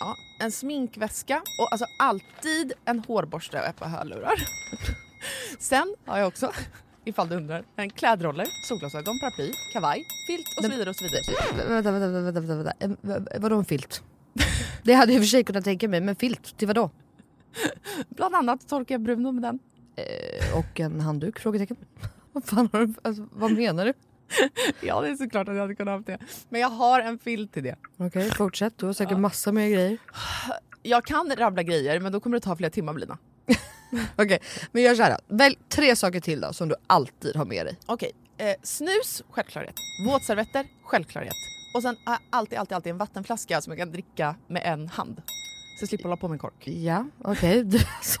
S3: Ja, en sminkväska och alltså alltid en hårborste och ett par hörlurar. *laughs* Sen har jag också, *laughs* ifall du undrar, en klädroller, solglasögon, paraply, kavaj, filt och så vidare och så vidare.
S2: Vä- Vänta, vänta, vänta, vänta, vänta. Eh, va- vadå en filt? Det hade jag i och för sig kunnat tänka mig men filt till vadå?
S3: Bland annat torkar jag Bruno med den. *laughs*
S2: Eh, och en handduk? Frågetecken. *laughs* Vad fan har du, alltså, vad menar du?
S3: Ja, det är såklart att jag hade kunnat ha haft det. Men jag har en filt till det.
S2: Okej fortsätt, du har säkert massa mer grejer.
S3: Jag kan rabbla grejer, men då kommer det ta flera timmar Lina.
S2: Okej men gör såhär då. välj tre saker till då som du alltid har med dig.
S3: Okej, eh, snus, självklarhet. Våtservetter, självklarhet. Och sen har jag alltid, alltid, alltid en vattenflaska som jag kan dricka med en hand. Så jag slipper hålla på med en kork.
S2: Ja, okej. *laughs* Du, alltså,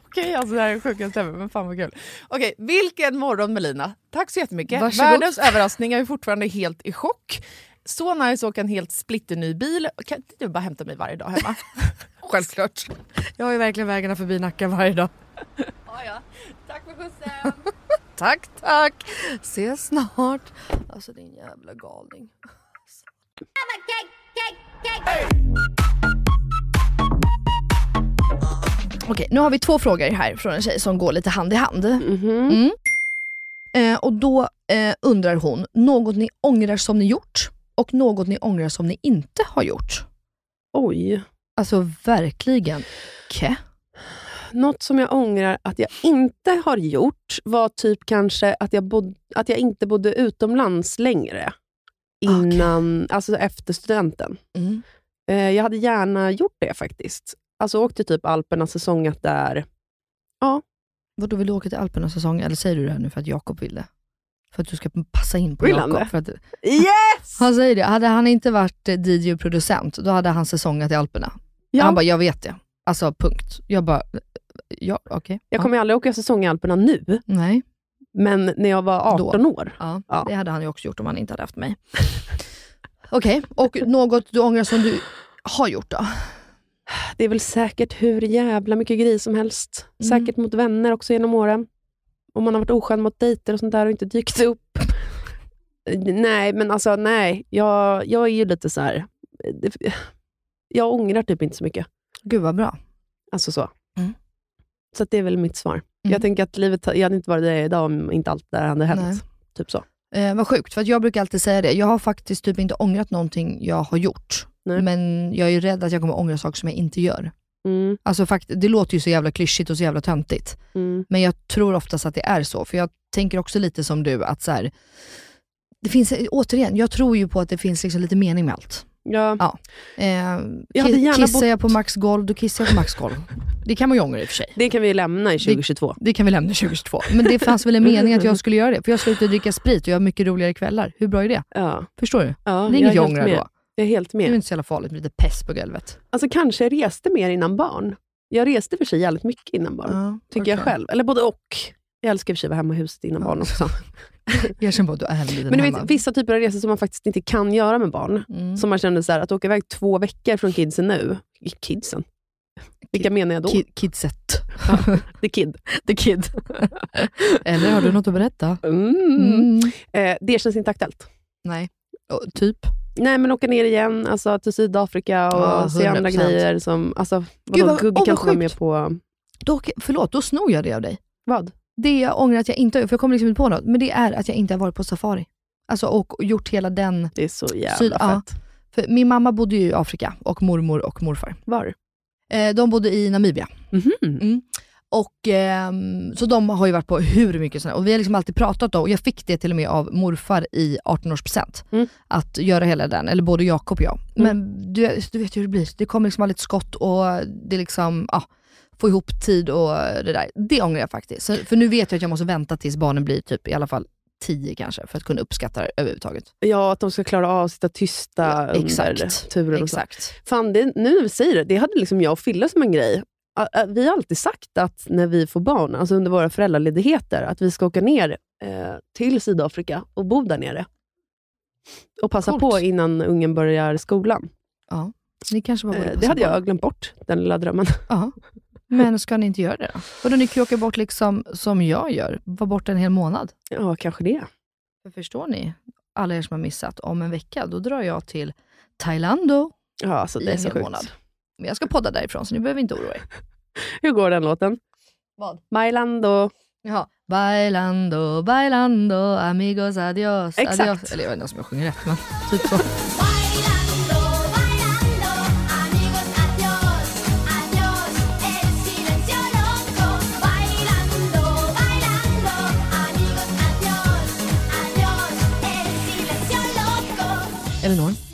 S3: Okej, alltså det här är det sjukaste ever, men fan vad kul. Okej, vilken morgon Melina. Tack så jättemycket.
S2: Varsågod.
S3: Världens överraskning, jag är fortfarande helt i chock. Så nice att åka en helt splitterny bil. Kan inte du bara hämta mig varje dag
S4: *laughs*
S3: hemma?
S2: Självklart. Jag har ju verkligen vägarna förbi Nacka varje dag.
S8: Tack för skjutsen!
S2: Tack, tack. Ses snart. Alltså din jävla galning. Okej, nu har vi två frågor här från en tjej som går lite hand i hand. Mm. Eh, och då eh, undrar hon, något ni ångrar som ni gjort och något ni ångrar som ni inte har gjort.
S4: Oj.
S2: Alltså verkligen. Ke.
S4: Något som jag ångrar att jag inte har gjort var typ kanske att jag, bod, att jag inte bodde utomlands längre. Innan, Alltså efter studenten.
S2: Mm.
S4: Eh, jag hade gärna gjort det faktiskt. Alltså åkte typ Alperna säsongat där.
S2: Vadå, vill du åka till Alpernas säsong? Eller säger du det här nu för att Jakob vill det? För att du ska passa in på
S4: Vill han
S2: Jakob?
S4: det?
S2: för att-
S4: Yes!
S2: Han säger det. Hade han inte varit eh, DJ och producent, då hade han säsongat i Alperna.
S4: Ja.
S2: Han bara, jag vet det. Alltså punkt. Jag bara, ja okej.
S4: Jag kommer ju aldrig åka säsong i Alperna nu,
S2: ja. Nej,
S4: men när jag var 18 år.
S2: ja.
S4: Ja.
S2: det hade han ju också gjort om han inte hade haft mig. *laughs* okej, och något du ångrar som du har gjort då?
S4: Det är väl säkert hur jävla mycket grejer som helst.
S2: Mm.
S4: Säkert mot vänner också genom åren. Om man har varit oskön mot dejter och sånt där och inte dykt upp. nej, men alltså nej. Jag, jag är ju lite så här. det- Jag ångrar typ inte så mycket.
S2: Gud vad bra.
S4: Alltså så.
S2: Mm.
S4: Så att det är väl mitt svar.
S2: Mm.
S4: Jag tänker att livet, jag hade inte varit där jag är idag om inte allt det där hade hänt.
S2: Nej.
S4: Typ så.
S2: Eh, vad sjukt, för att jag brukar alltid säga det. Jag har faktiskt typ inte ångrat någonting jag har gjort.
S4: Nej.
S2: Men jag är ju rädd att jag kommer ångra saker som jag inte gör.
S4: Mm,
S2: Alltså, fakt- det låter ju så jävla klyschigt och så jävla töntigt.
S4: mm,
S2: Men jag tror oftast att det är så, för jag tänker också lite som du att så här, det finns, återigen, jag tror ju på att det finns liksom lite mening med allt.
S4: ja.
S2: Eh,
S4: Mm. Jag hade
S2: ki-
S4: gärna
S2: kissar
S4: bott-
S2: jag på Max golv, då kissar jag på Max golv. Det kan man ju ångra i och för sig.
S4: Det kan vi ju lämna i 2022.
S2: Det kan vi lämna 2022. Men det fanns väl en mening att jag skulle göra det, för jag slutade dricka sprit och jag har mycket roligare kvällar. Hur bra är det?
S4: Ja.
S2: Förstår du? det
S4: Ja,
S2: är inget jag
S4: helt
S2: ångrar
S4: med.
S2: då.
S4: Jag är helt
S2: Det är
S4: med.
S2: inte så jävla farligt med lite pest på golvet.
S4: Alltså kanske jag reste mer innan barn. Jag reste för sig jävligt mycket innan barn, tycker jag själv. Eller både och. Jag älskar i och för sig att vara hemma i huset innan
S2: Ja. *laughs*
S4: barn också.
S2: Erkänn bara att du är hellre
S4: Men du vet, vissa typer av resor som man faktiskt inte kan göra med barn.
S2: mm.
S4: Som man känner så här, att åka iväg två veckor från kidsen nu. Kidsen? Vilka menar jag då?
S2: Ki- Kidset.
S4: The kid. *laughs* The kid.
S2: *laughs* Eller har du något att berätta?
S4: Mm. Eh, det känns inte aktuellt.
S2: Nej. Och, typ.
S4: Nej, men åka ner igen alltså, till Sydafrika och
S2: Ja,
S4: se andra
S2: 100%.
S4: grejer. Som, alltså,
S2: Gud, vad-
S4: vadå,
S2: åh,
S4: Gugge
S2: vad
S4: kanske var
S2: sjukt.
S4: med på...
S2: Då, förlåt, då snor jag det av dig.
S4: Vad?
S2: Det jag ångrar att jag inte har gjort, för jag kommer liksom inte på något, men det är att jag inte har varit på safari. Alltså och gjort hela den...
S4: Det är så jävla
S2: Syd- ja.
S4: fett.
S2: För min mamma bodde ju i Afrika och mormor och morfar.
S4: Var?
S2: Eh, de bodde i Namibia. Mm.
S4: Mhm.
S2: Och, ehm, så de har ju varit på hur mycket sådana och vi har liksom alltid pratat om, och jag fick det till och med av morfar i 18-årspresent,
S4: Mm.
S2: att göra hela den, eller både Jakob och jag. Men du, du vet ju hur det blir, det kommer liksom aldrig ett skott och det är liksom, ja, få ihop tid och det där. Det ångrar jag faktiskt. Så, för nu vet jag att jag måste vänta tills barnen blir typ i alla fall 10 kanske, för att kunna uppskatta det överhuvudtaget.
S4: Ja, att de ska klara av att sitta tysta
S2: Ja,
S4: under turen. Och så.
S2: Exakt.
S4: Fan, det, nu när vi säger det, det hade liksom jag och Fille som en grej. Ä- ä, Vi har alltid sagt att när vi får barn, alltså under våra föräldraledigheter, att vi ska åka ner eh, till Sydafrika och bo där nere. Och passa
S2: Coolt.
S4: på innan ungen börjar skolan.
S2: Ja. Ni kanske bara borde
S4: Eh, det
S2: passa
S4: hade
S2: på.
S4: jag glömt bort, den lilla drömmen. *laughs*
S2: Ja. Men ska ni inte göra det då? Vadå, ni kan ju åka bort liksom som jag gör, vara borta en hel månad.
S4: Ja, kanske det.
S2: För förstår ni, alla er som har missat, om en vecka då drar jag till Thailando
S4: Ja, alltså,
S2: i
S4: det är
S2: en
S4: så
S2: hel
S4: sjukt.
S2: månad. Men jag ska podda därifrån så ni behöver inte oroa er.
S4: Hur går den låten?
S2: Vad?
S4: Mylando.
S2: Jaha. Bailando, bailando, amigos adios,
S4: Exakt.
S2: adios. Eller jag vet inte ens om jag sjunger rätt, men typ så.
S9: Bailando, bailando,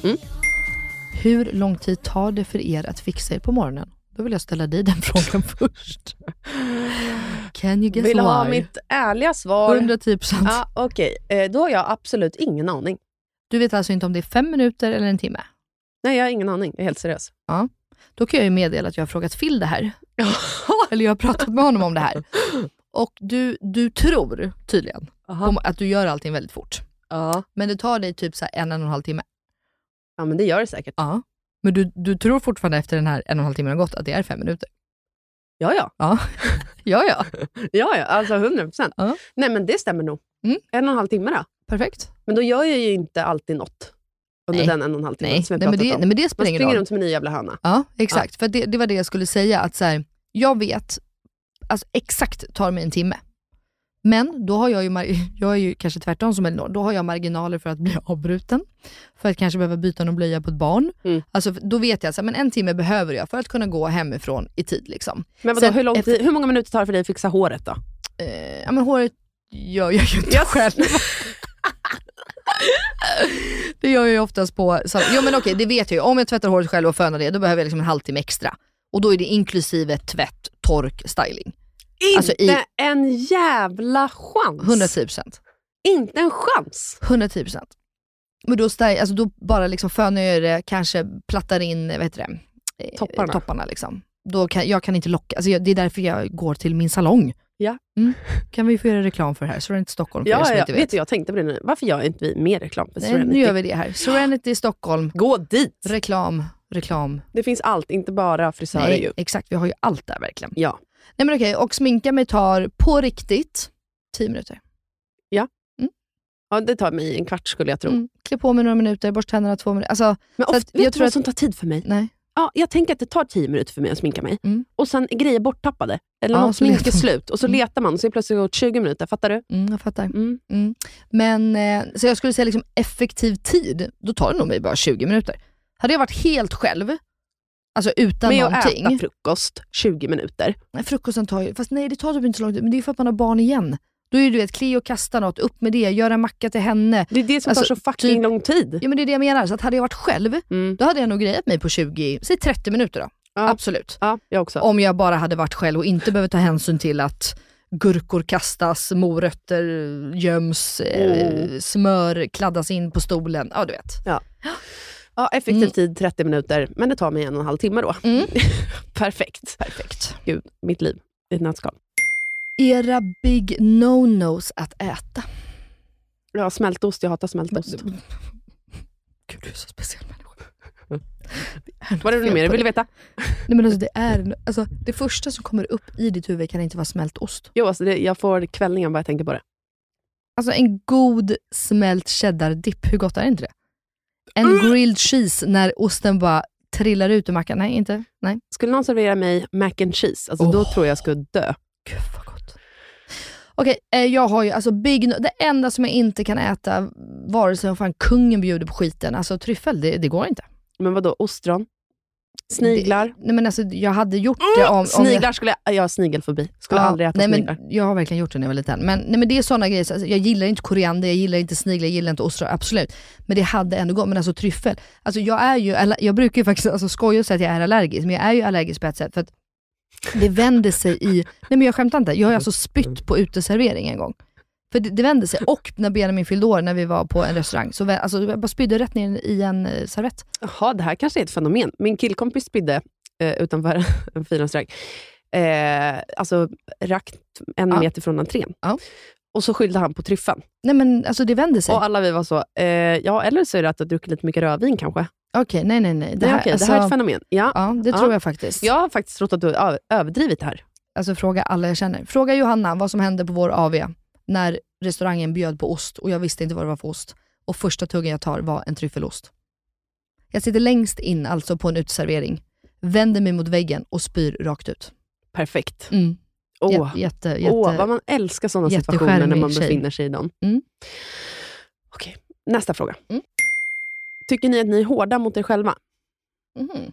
S4: Mm.
S2: Hur lång tid tar det för er att fixa er på morgonen? Då vill jag ställa dig den frågan *laughs* först. Can you guess
S4: Vill
S2: why?
S4: ha mitt ärliga svar.
S2: 110 procent. *laughs*
S4: Ja, Okej, Eh, då har jag absolut ingen aning.
S2: Du vet alltså inte om det är fem minuter eller en timme?
S4: Nej, jag har ingen aning. Jag är helt seriös.
S2: Ja. Då kan jag ju meddela att jag har frågat Phil det här. eller jag har pratat med honom om det här. Och du, du tror tydligen på att du gör allting väldigt fort.
S4: Ja.
S2: Men det tar dig typ så här en, en och en halv timme.
S4: ja, men det gör det säkert.
S2: Ja. Men du, du tror fortfarande efter den här en och en halv timmen har gått att det är fem minuter?
S4: Ja, ja.
S2: Ja, ja. ja.
S4: Ja, ja. Alltså 100 procent. *laughs*
S2: Ja.
S4: Nej, men det stämmer nog.
S2: Mm.
S4: En och en halv timme då.
S2: Perfekt.
S4: Men då gör jag ju inte alltid något under
S2: Nej.
S4: den en och en halv timmen
S2: Nej,
S4: som jag
S2: nej, men
S4: pratat
S2: det,
S4: om.
S2: nej men det
S4: Man
S2: spelar ingen
S4: springer
S2: roll.
S4: runt som en ny jävla höna.
S2: Ja, exakt. För det, det var det jag skulle säga. Att så här, jag vet, alltså exakt tar mig en timme. Men då har jag ju, mar- *laughs* jag är ju kanske tvärtom som Elinor, då har jag marginaler för att bli *laughs* avbruten, för att kanske behöva byta någon blöja på ett barn.
S4: Mm.
S2: Alltså, då vet jag att men en timme behöver jag för att kunna gå hemifrån i tid. Liksom.
S4: Men vadå,
S2: Sen
S4: hur, lång
S2: efter-
S4: tid, hur många minuter tar det för dig att fixa håret då?
S2: Eh, ja, men håret gör jag ju inte själv. det gör jag ju oftast på... Så, jo men okej, det vet jag ju. Om jag tvättar håret själv och fönar det, då behöver jag liksom en halvtimme extra. Och då är det inklusive tvätt, tork, styling. Alltså,
S4: inte
S2: i-
S4: en jävla chans!
S2: 110%.
S4: Inte en chans!
S2: 110%. Men då, styl, alltså, då bara liksom fönar jag det, kanske plattar in, vad heter det? Eh,
S4: Topparna.
S2: topparna liksom. Då kan, jag kan inte locka, alltså, jag, det är därför jag går till min salong.
S4: Ja.
S2: Mm. Kan vi få göra reklam för det här? Serenity Stockholm för er
S4: Ja,
S2: som
S4: ja,
S2: inte
S4: vet.
S2: vet.
S4: du, jag tänkte på det nu. Varför gör inte vi mer reklam för
S2: Nej, nu
S4: Serenity?
S2: gör vi det här. Serenity Stockholm.
S4: Gå dit!
S2: Reklam, reklam.
S4: Det finns allt, inte bara frisörer
S2: Nej,
S4: ju.
S2: exakt, vi har ju allt där verkligen.
S4: Ja.
S2: Nej men okej, och sminka mig tar på riktigt 10 minuter.
S4: ja, det tar mig en kvart skulle jag tro.
S2: Mm. Klä på mig några minuter, borsta tänderna två minuter. Alltså,
S4: Men
S2: Så
S4: ofta,
S2: att
S4: vet
S2: jag
S4: du
S2: tror
S4: vad
S2: att-
S4: som tar tid för mig?
S2: nej.
S4: Ja, jag tänker att det tar tio minuter för mig att sminka mig.
S2: Mm.
S4: Och sen är grejer borttappade. Eller
S2: Ja,
S4: något
S2: så
S4: smink
S2: letar
S4: är
S2: man.
S4: slut. Och så
S2: Mm.
S4: letar man och så är det plötsligt gått 20 minuter. Fattar du?
S2: Mm, jag fattar.
S4: Mm.
S2: Mm. Men, eh, så jag skulle säga liksom effektiv tid, då tar det nog mig bara 20 minuter. Hade jag varit helt själv, alltså utan
S4: Med att
S2: någonting.
S4: äta frukost, 20 minuter.
S2: Nej, frukosten tar ju, fast nej det tar typ inte så lång tid, men det är ju för att man har barn igen. Då är det du vet, Cleo kastar något, upp med det, göra en macka till henne.
S4: Det är det som
S2: Alltså,
S4: tar så fucking
S2: typ-
S4: lång tid.
S2: Ja men det är det jag menar, så att hade jag varit själv,
S4: Mm.
S2: då hade jag nog grejat mig på 20, säg 30 minuter då.
S4: Ja.
S2: Absolut.
S4: Ja, jag också.
S2: Om jag bara hade varit själv och inte behövt ta hänsyn till att gurkor kastas, morötter göms, eh,
S4: Mm.
S2: smör kladdas in på stolen. Ja, du vet.
S4: Ja, effektiv
S2: Mm.
S4: tid 30 minuter, men det tar mig en och en halv timme då.
S2: Mm.
S4: *laughs* Perfekt. Perfekt. Gud, mitt liv i ett nötskal.
S2: Era big no-nos att äta.
S4: Ja, smältost. Jag hatar smältost.
S2: Mm. Gud, du är så speciell människa.
S4: Vad är det
S2: fel
S4: nu mer du
S2: på
S4: ville veta?
S2: Nej, men alltså, det, är, alltså, det första som kommer upp i ditt huvud kan inte vara smält ost.
S4: Jo, alltså det, jag får kvällningar bara jag tänker på det.
S2: Alltså en god smält cheddar-dipp, hur gott är inte det? En
S4: Mm.
S2: grilled cheese när osten bara trillar ut ur mackan. Nej, inte. Nej.
S4: Skulle någon servera mig mac and cheese, alltså då
S2: Åh.
S4: tror jag jag skulle dö.
S2: Gud vad gott. Okej, eh, jag har ju alltså big no- Det enda som jag inte kan äta, vare sig om fan kungen bjuder på skiten, alltså tryffel, det, det går inte.
S4: Men vad då ostron? Sniglar? Mm!
S2: Nej men alltså jag hade gjort det om... om
S4: sniglar skulle jag... Jag har snigelfobi. Skulle
S2: Ja,
S4: aldrig äta
S2: nej,
S4: sniglar.
S2: men jag har verkligen gjort det när jag var liten. Men, nej, men det är sådana grejer, så, alltså, jag gillar inte koriander, jag gillar inte sniglar, jag gillar inte ostron, absolut. Men det hade ändå gått. Men alltså tryffel, alltså, jag, är ju, alla- jag brukar ju faktiskt alltså, skoja och säga att jag är allergisk, men jag är ju allergisk på ett sätt för att det vänder sig i, nej men jag skämtar inte, jag har ju alltså spytt på uteservering en gång. För det, det vände sig, och när Benjamin fyllde år, när vi var på en restaurang, så vä- alltså, jag bara spydde rätt ner i en eh, servett.
S4: Jaha, det här kanske är ett fenomen. Min killkompis spydde eh, utanför *laughs* en fin restaurang. Eh, alltså rakt en
S2: Ja.
S4: meter från entrén.
S2: Ja.
S4: Och så skyllde han på tryffeln.
S2: Nej men alltså det vänder sig.
S4: Och alla vi var så, eh, ja eller så är det att du har druckit lite mycket rödvin kanske.
S2: Okej, nej nej nej.
S4: Det, här, okej, det här är ett
S2: alltså,
S4: fenomen. Ja.
S2: Ja, det
S4: Ja.
S2: tror jag faktiskt.
S4: Jag har faktiskt trott att du har ö- överdrivit det här.
S2: alltså fråga alla jag känner. Fråga Johanna vad som hände på vår AV när restaurangen bjöd på ost och jag visste inte vad det var för ost. Och första tuggan jag tar var en tryffelost. Jag sitter längst in alltså på en uteservering, vänder mig mot väggen och spyr rakt ut.
S4: Perfekt. Oh.
S2: Mm.
S4: Åh,
S2: Jä- Jätte, jätte,
S4: åh, vad man älskar sådana situationer när
S2: jättecharmig
S4: man
S2: tjej.
S4: befinner sig i dem.
S2: Mm.
S4: Okej, nästa fråga.
S2: Mm.
S4: Tycker ni att ni är hårda mot er själva?
S2: Mhm.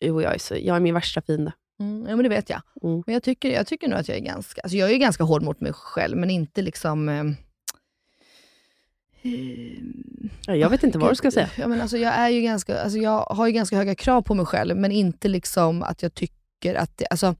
S4: Jo, jag är, så, jag är min värsta fiende.
S2: Mm, ja, men det vet jag.
S4: Mm.
S2: Men jag tycker, jag tycker nog att ehm, jag är ganska, alltså jag är ju ganska hård mot mig själv, men inte liksom... Eh, ehm,
S4: Ja, Eh, Jag vet inte vad du ska säga.
S2: Ja, men alltså, jag, är ju ganska, alltså, jag har ju ganska höga krav på mig själv, men inte liksom att jag tycker att... Det, alltså,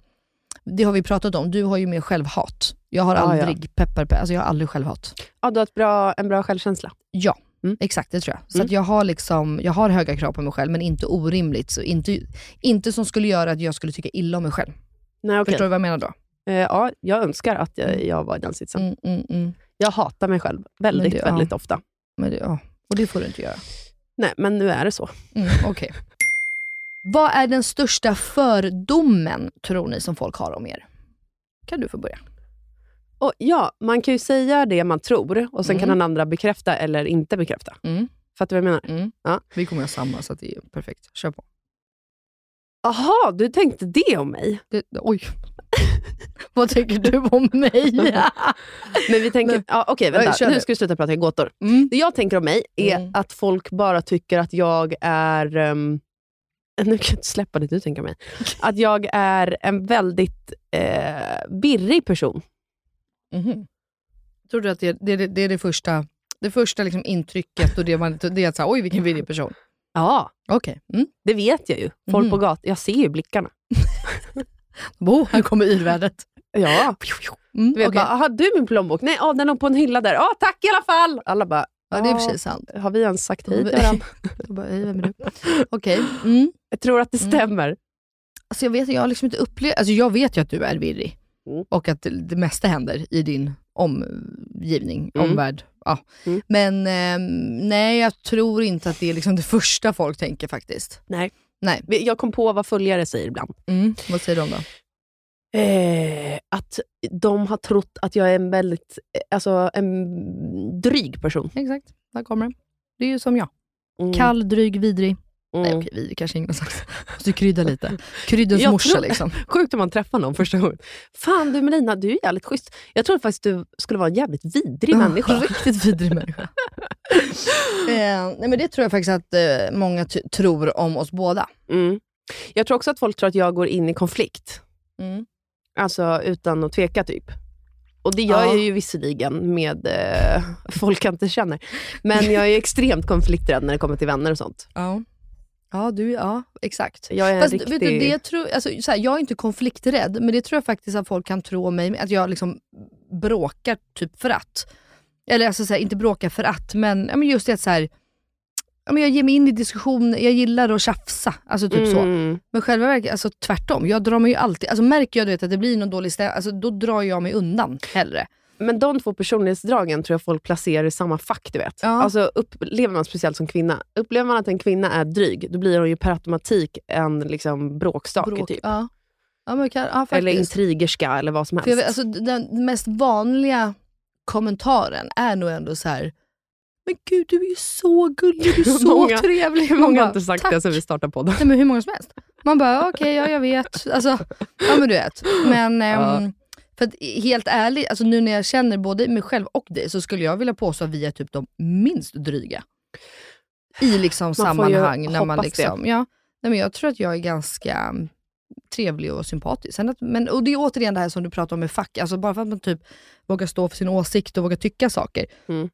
S2: det har vi pratat om, du har ju mer självhat. Jag har
S4: Ja, ja.
S2: aldrig peppar, pe- alltså, jag har aldrig självhat.
S4: Ja, du har ett bra, en bra självkänsla.
S2: Ja, exakt det tror jag. Så
S4: Mm.
S2: att jag, har liksom, jag har höga krav på mig själv, men inte orimligt. Så inte, inte som skulle göra att jag skulle tycka illa om mig själv.
S4: Nej, okej.
S2: Förstår du vad jag menar då?
S4: Eh, ja, jag önskar att jag, jag var i den sitsen.
S2: Mm, mm, mm.
S4: Jag hatar mig själv väldigt,
S2: Men det- ja.
S4: väldigt ofta.
S2: Men det, ja. Och det får du inte göra.
S4: Nej, men nu är det så. *laughs*
S2: Mm, Okej. Vad är den största fördomen, tror ni, som folk har om er? Kan du få börja?
S4: Och ja, man kan ju säga det man tror och sen kan
S2: Mm.
S4: den andra bekräfta eller inte bekräfta.
S2: Mm.
S4: Fattar du vad jag menar?
S2: Mm.
S4: Ja.
S2: Vi kommer göra samma, så att det är perfekt. Kör på.
S4: Aha, du tänkte det om mig?
S2: Det, *laughs* oj. Vad tänker du om mig?
S4: Men
S2: *laughs*
S4: vi tänker...
S2: Nej.
S4: Ja, Okej,
S2: Nej,
S4: vänta.
S2: kör
S4: Nu
S2: nu.
S4: ska vi sluta prata i gåtor.
S2: *laughs* Mm.
S4: Det jag tänker om mig är
S2: Mm.
S4: att folk bara tycker att jag är... ehm, *laughs* nu kan jag inte släppa det du *laughs* tänker om mig. Att jag är en väldigt uh, birrig person.
S2: Mhm. Tror du att det, det, det är det första, det första liksom intrycket och det, man, det är att säga, oj vilken villig person.
S4: Ja,
S2: Okej. Mm.
S4: det vet jag ju. Folk
S2: Mhm.
S4: på gatan. Jag ser ju blickarna.
S2: Bo, här kommer yrvädret.
S4: Ja.
S2: Mm,
S4: *laughs* Du vet,
S2: okej.
S4: bara, har du min plånbok? Nej, ah, den låg på en hylla där. ah, tack i alla fall! Alla bara,
S2: ja, det är precis sant.
S4: har vi ens sagt hej till varandra?
S2: Jag bara, hej, vem är du? Okej. Mm.
S4: *laughs* Jag tror att det
S2: Mm.
S4: stämmer.
S2: Alltså, jag, vet, jag, har liksom inte upplevt, alltså, jag vet ju att du är virrig
S4: Mm.
S2: och att det, det mesta händer i din omgivning,
S4: Mm.
S2: omvärld. Ja.
S4: Mm.
S2: Men ehm, nej, jag tror inte att det är liksom det första folk tänker faktiskt.
S4: Nej.
S2: Nej.
S4: Vi- Jag kom på vad följare säger ibland.
S2: Mm. Vad säger de då?
S4: Eh, att de har trott att jag är en väldigt eh, alltså, en dryg person.
S2: Exakt, där kommer det. Det är ju som jag.
S4: Mm.
S2: Kall, drig, vidrig. Nej
S4: Mm.
S2: okej, vidrig kanske ingen har *laughs* sagt. Måste krydda lite. Kryddens
S4: Jag
S2: morsa
S4: tror-
S2: liksom. *laughs*
S4: Sjukt om man träffar någon första gången. Fan du Melina, du är jävligt schysst. Jag trodde faktiskt du skulle vara en jävligt vidrig människa.
S2: Riktigt vidrig
S4: *laughs*
S2: människa. eh, nej men det tror jag faktiskt att eh, många t- tror om oss båda.
S4: Mm. Jag tror också att folk tror att jag går in i konflikt.
S2: Mm.
S4: Alltså utan att tveka typ. Och det gör
S2: Ja.
S4: jag ju visserligen med eh, *laughs* folk jag inte känner. Men jag är ju extremt konflikträdd när det kommer till vänner och sånt.
S2: Ja. Ja, du, ja, exakt.
S4: Jag är en
S2: Fast
S4: riktig...
S2: vet du, det tror, alltså, så här, jag är inte konflikträdd, men det tror jag faktiskt att folk kan tro om mig, att jag liksom bråkar typ för att. Eller alltså, så här, inte bråkar för att, men, ja, men just det att så här, ja, men jag ger mig in i diskussion, jag gillar att tjafsa. Alltså typ så.
S4: Mm.
S2: Men själva verket, alltså tvärtom. Jag drar mig ju alltid, alltså märker jag du vet, att det blir någon dålig stämning, alltså, då drar jag mig undan hellre.
S4: Men de två personlighetsdragen tror jag folk placerar i samma fack. du vet.
S2: Ja.
S4: Alltså, upplever man speciellt som kvinna, upplever man att en kvinna är dryg, då blir hon ju per automatik en liksom, bråkstake.
S2: Bråk,
S4: typ.
S2: ja. Ja, men, kan- ja,
S4: eller
S2: faktiskt.
S4: intrigerska eller vad som helst.
S2: För jag vet,
S4: *laughs*
S2: alltså, den mest vanliga kommentaren är nog ändå så här. men gud du är ju så gullig, du är så
S4: *laughs* Många-
S2: trevlig. Man
S4: Många
S2: bara,
S4: har inte sagt
S2: tack.
S4: det sen vi startade podden.
S2: Nej, men hur många som helst. Man bara, okej, ja, jag vet. Alltså, ja men du vet. Men ehm, för att, helt ärligt, alltså, nu när jag känner både mig själv och dig så skulle jag vilja påstå att vi är typ de minst dryga. I liksom
S4: får ju
S2: sammanhang. När man
S4: hoppas
S2: liksom, ja, nej, men jag tror att jag är ganska mm, trevlig och sympatisk. Sen att, men, och det är återigen det här som du pratar om med fack, alltså bara för att man typ vågar stå för sin åsikt och vågar tycka saker,
S4: Mm.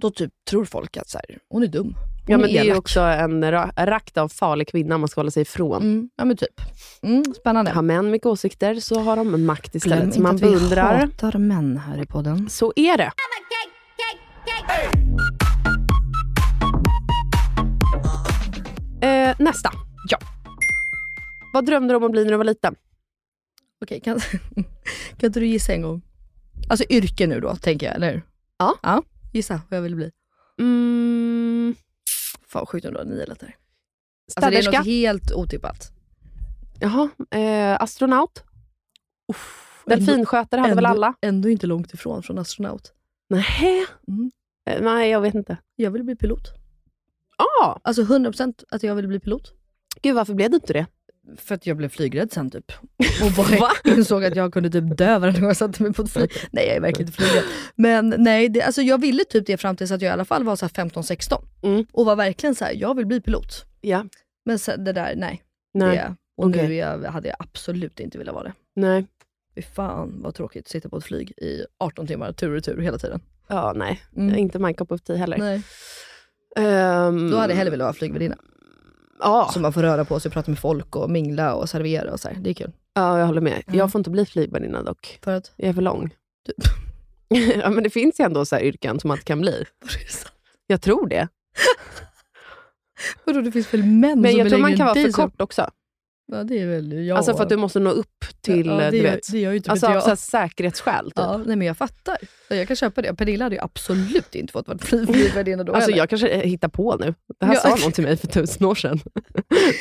S2: då typ tror folk att så här, hon är dum. Hon
S4: Ja, men det är ju
S2: elak.
S4: också en ra- rakt av farlig kvinna man ska hålla sig ifrån.
S2: Mm, ja men typ. Mm, spännande.
S4: Har män mycket åsikter så har de makt
S2: Glöm
S4: istället.
S2: inte
S4: Så man
S2: att vi
S4: beundrar.
S2: hatar män här i podden.
S4: Så är det. Eh, nästa. Ja. Vad drömde du om att bli när du var liten?
S2: Okej, kan, *laughs* kan inte du gissa en gång? Alltså yrke nu då, tänker jag, eller hur?
S4: Ja.
S2: ja. Gissa vad jag ville bli.
S4: Mm,
S2: Fan vad sjukt om du har nio lättare. Alltså det är
S4: städerska.
S2: något helt otippat.
S4: Jaha. Eh, astronaut. Delfinskötare hade
S2: ändå,
S4: väl alla?
S2: Ändå inte långt ifrån från astronaut.
S4: Nej.
S2: Mm.
S4: Eh, nej, jag vet inte.
S2: Jag ville bli pilot.
S4: Ah,
S2: Alltså 100% att jag ville bli pilot.
S4: gud, varför blev du inte det?
S2: För att jag blev flygrädd sen
S4: *laughs*
S2: typ. Och bara insåg att jag kunde typ dö varje gång jag satte mig på ett flyg. Nej jag är verkligen inte flygrädd. Men nej, det, alltså jag ville typ det fram tills att jag i alla fall var så här 15-16.
S4: Mm.
S2: Och var verkligen så här, jag vill bli pilot.
S4: Ja.
S2: Men sen, det där, nej.
S4: Nej.
S2: Det, och
S4: Okej.
S2: nu är jag, hade jag absolut inte velat vara det.
S4: nej.
S2: Fy fan vad tråkigt, sitta på ett flyg i 18 timmar tur och retur hela tiden.
S4: Ja, nej.
S2: Mm.
S4: Inte my cup of tea heller.
S2: Nej.
S4: Ehm,
S2: Då hade jag hellre velat vara flygvärdinna.
S4: Mm. Ja.
S2: Så man får röra på sig, prata med folk och mingla och servera och så här. Det är kul.
S4: Ja, jag håller med.
S2: Mm.
S4: Jag får inte bli flygvärdinna dock.
S2: För att?
S4: Jag är för lång. Typ. *laughs* ja, men det finns ju ändå så här yrken som man inte kan bli. Jag tror det.
S2: Vadå, det finns väl män
S4: Men
S2: som
S4: jag
S2: är
S4: tror man
S2: längre
S4: kan
S2: än
S4: vara
S2: dig
S4: för
S2: som-
S4: kort också.
S2: Ja, det är väl jag.
S4: Alltså för att du måste nå upp till,
S2: ja, det
S4: du
S2: gör,
S4: vet.
S2: Det gör ju typ
S4: Alltså
S2: inte
S4: av
S2: jag.
S4: så här säkerhetsskäl. Typ.
S2: ja, nej, men jag fattar. Ja, Jag kan köpa det. Pernilla hade ju absolut inte
S4: *laughs*
S2: fått vara flygvärdinna då
S4: Alltså
S2: heller.
S4: jag kanske eh, hittar på nu. Det här
S2: Ja.
S4: sa någon till mig för tusen år sedan. *laughs* så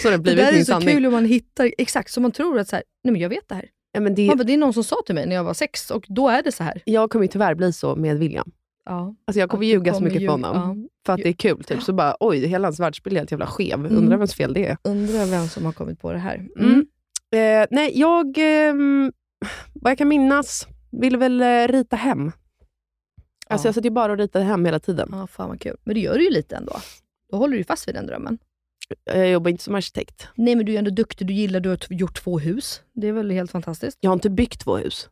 S4: det har
S2: Det
S4: blivit
S2: där är
S4: min
S2: så
S4: sanning.
S2: kul om man hittar, exakt, som man tror att så här, nej men jag vet det här.
S4: Ja, men det,
S2: Man bara, det är någon som sa till mig när jag var sex och då är det så här.
S4: jag kommer ju tyvärr bli så med William.
S2: Ja.
S4: Alltså jag kommer
S2: Att du
S4: ljuga så
S2: kommer
S4: mycket för
S2: ljuga,
S4: honom. För att det är kul. Typ. Så bara, oj, hela hans världsbild är helt jävla skev.
S2: Mm.
S4: Undrar vems fel det är.
S2: Undrar vem som har kommit på det här. Mm.
S4: Mm. Eh, nej, jag, ehm, vad jag kan minnas, ville väl eh, rita hem.
S2: Ja.
S4: Alltså jag satt ju bara och ritade hem hela tiden.
S2: Ja, fan vad kul. Men det gör du ju lite ändå. Då håller du ju fast vid den drömmen.
S4: Jag jobbar inte som arkitekt.
S2: Nej, men du är ändå duktig. Du gillar, du har t- gjort två hus. Det är väl helt fantastiskt?
S4: Jag har inte byggt två hus.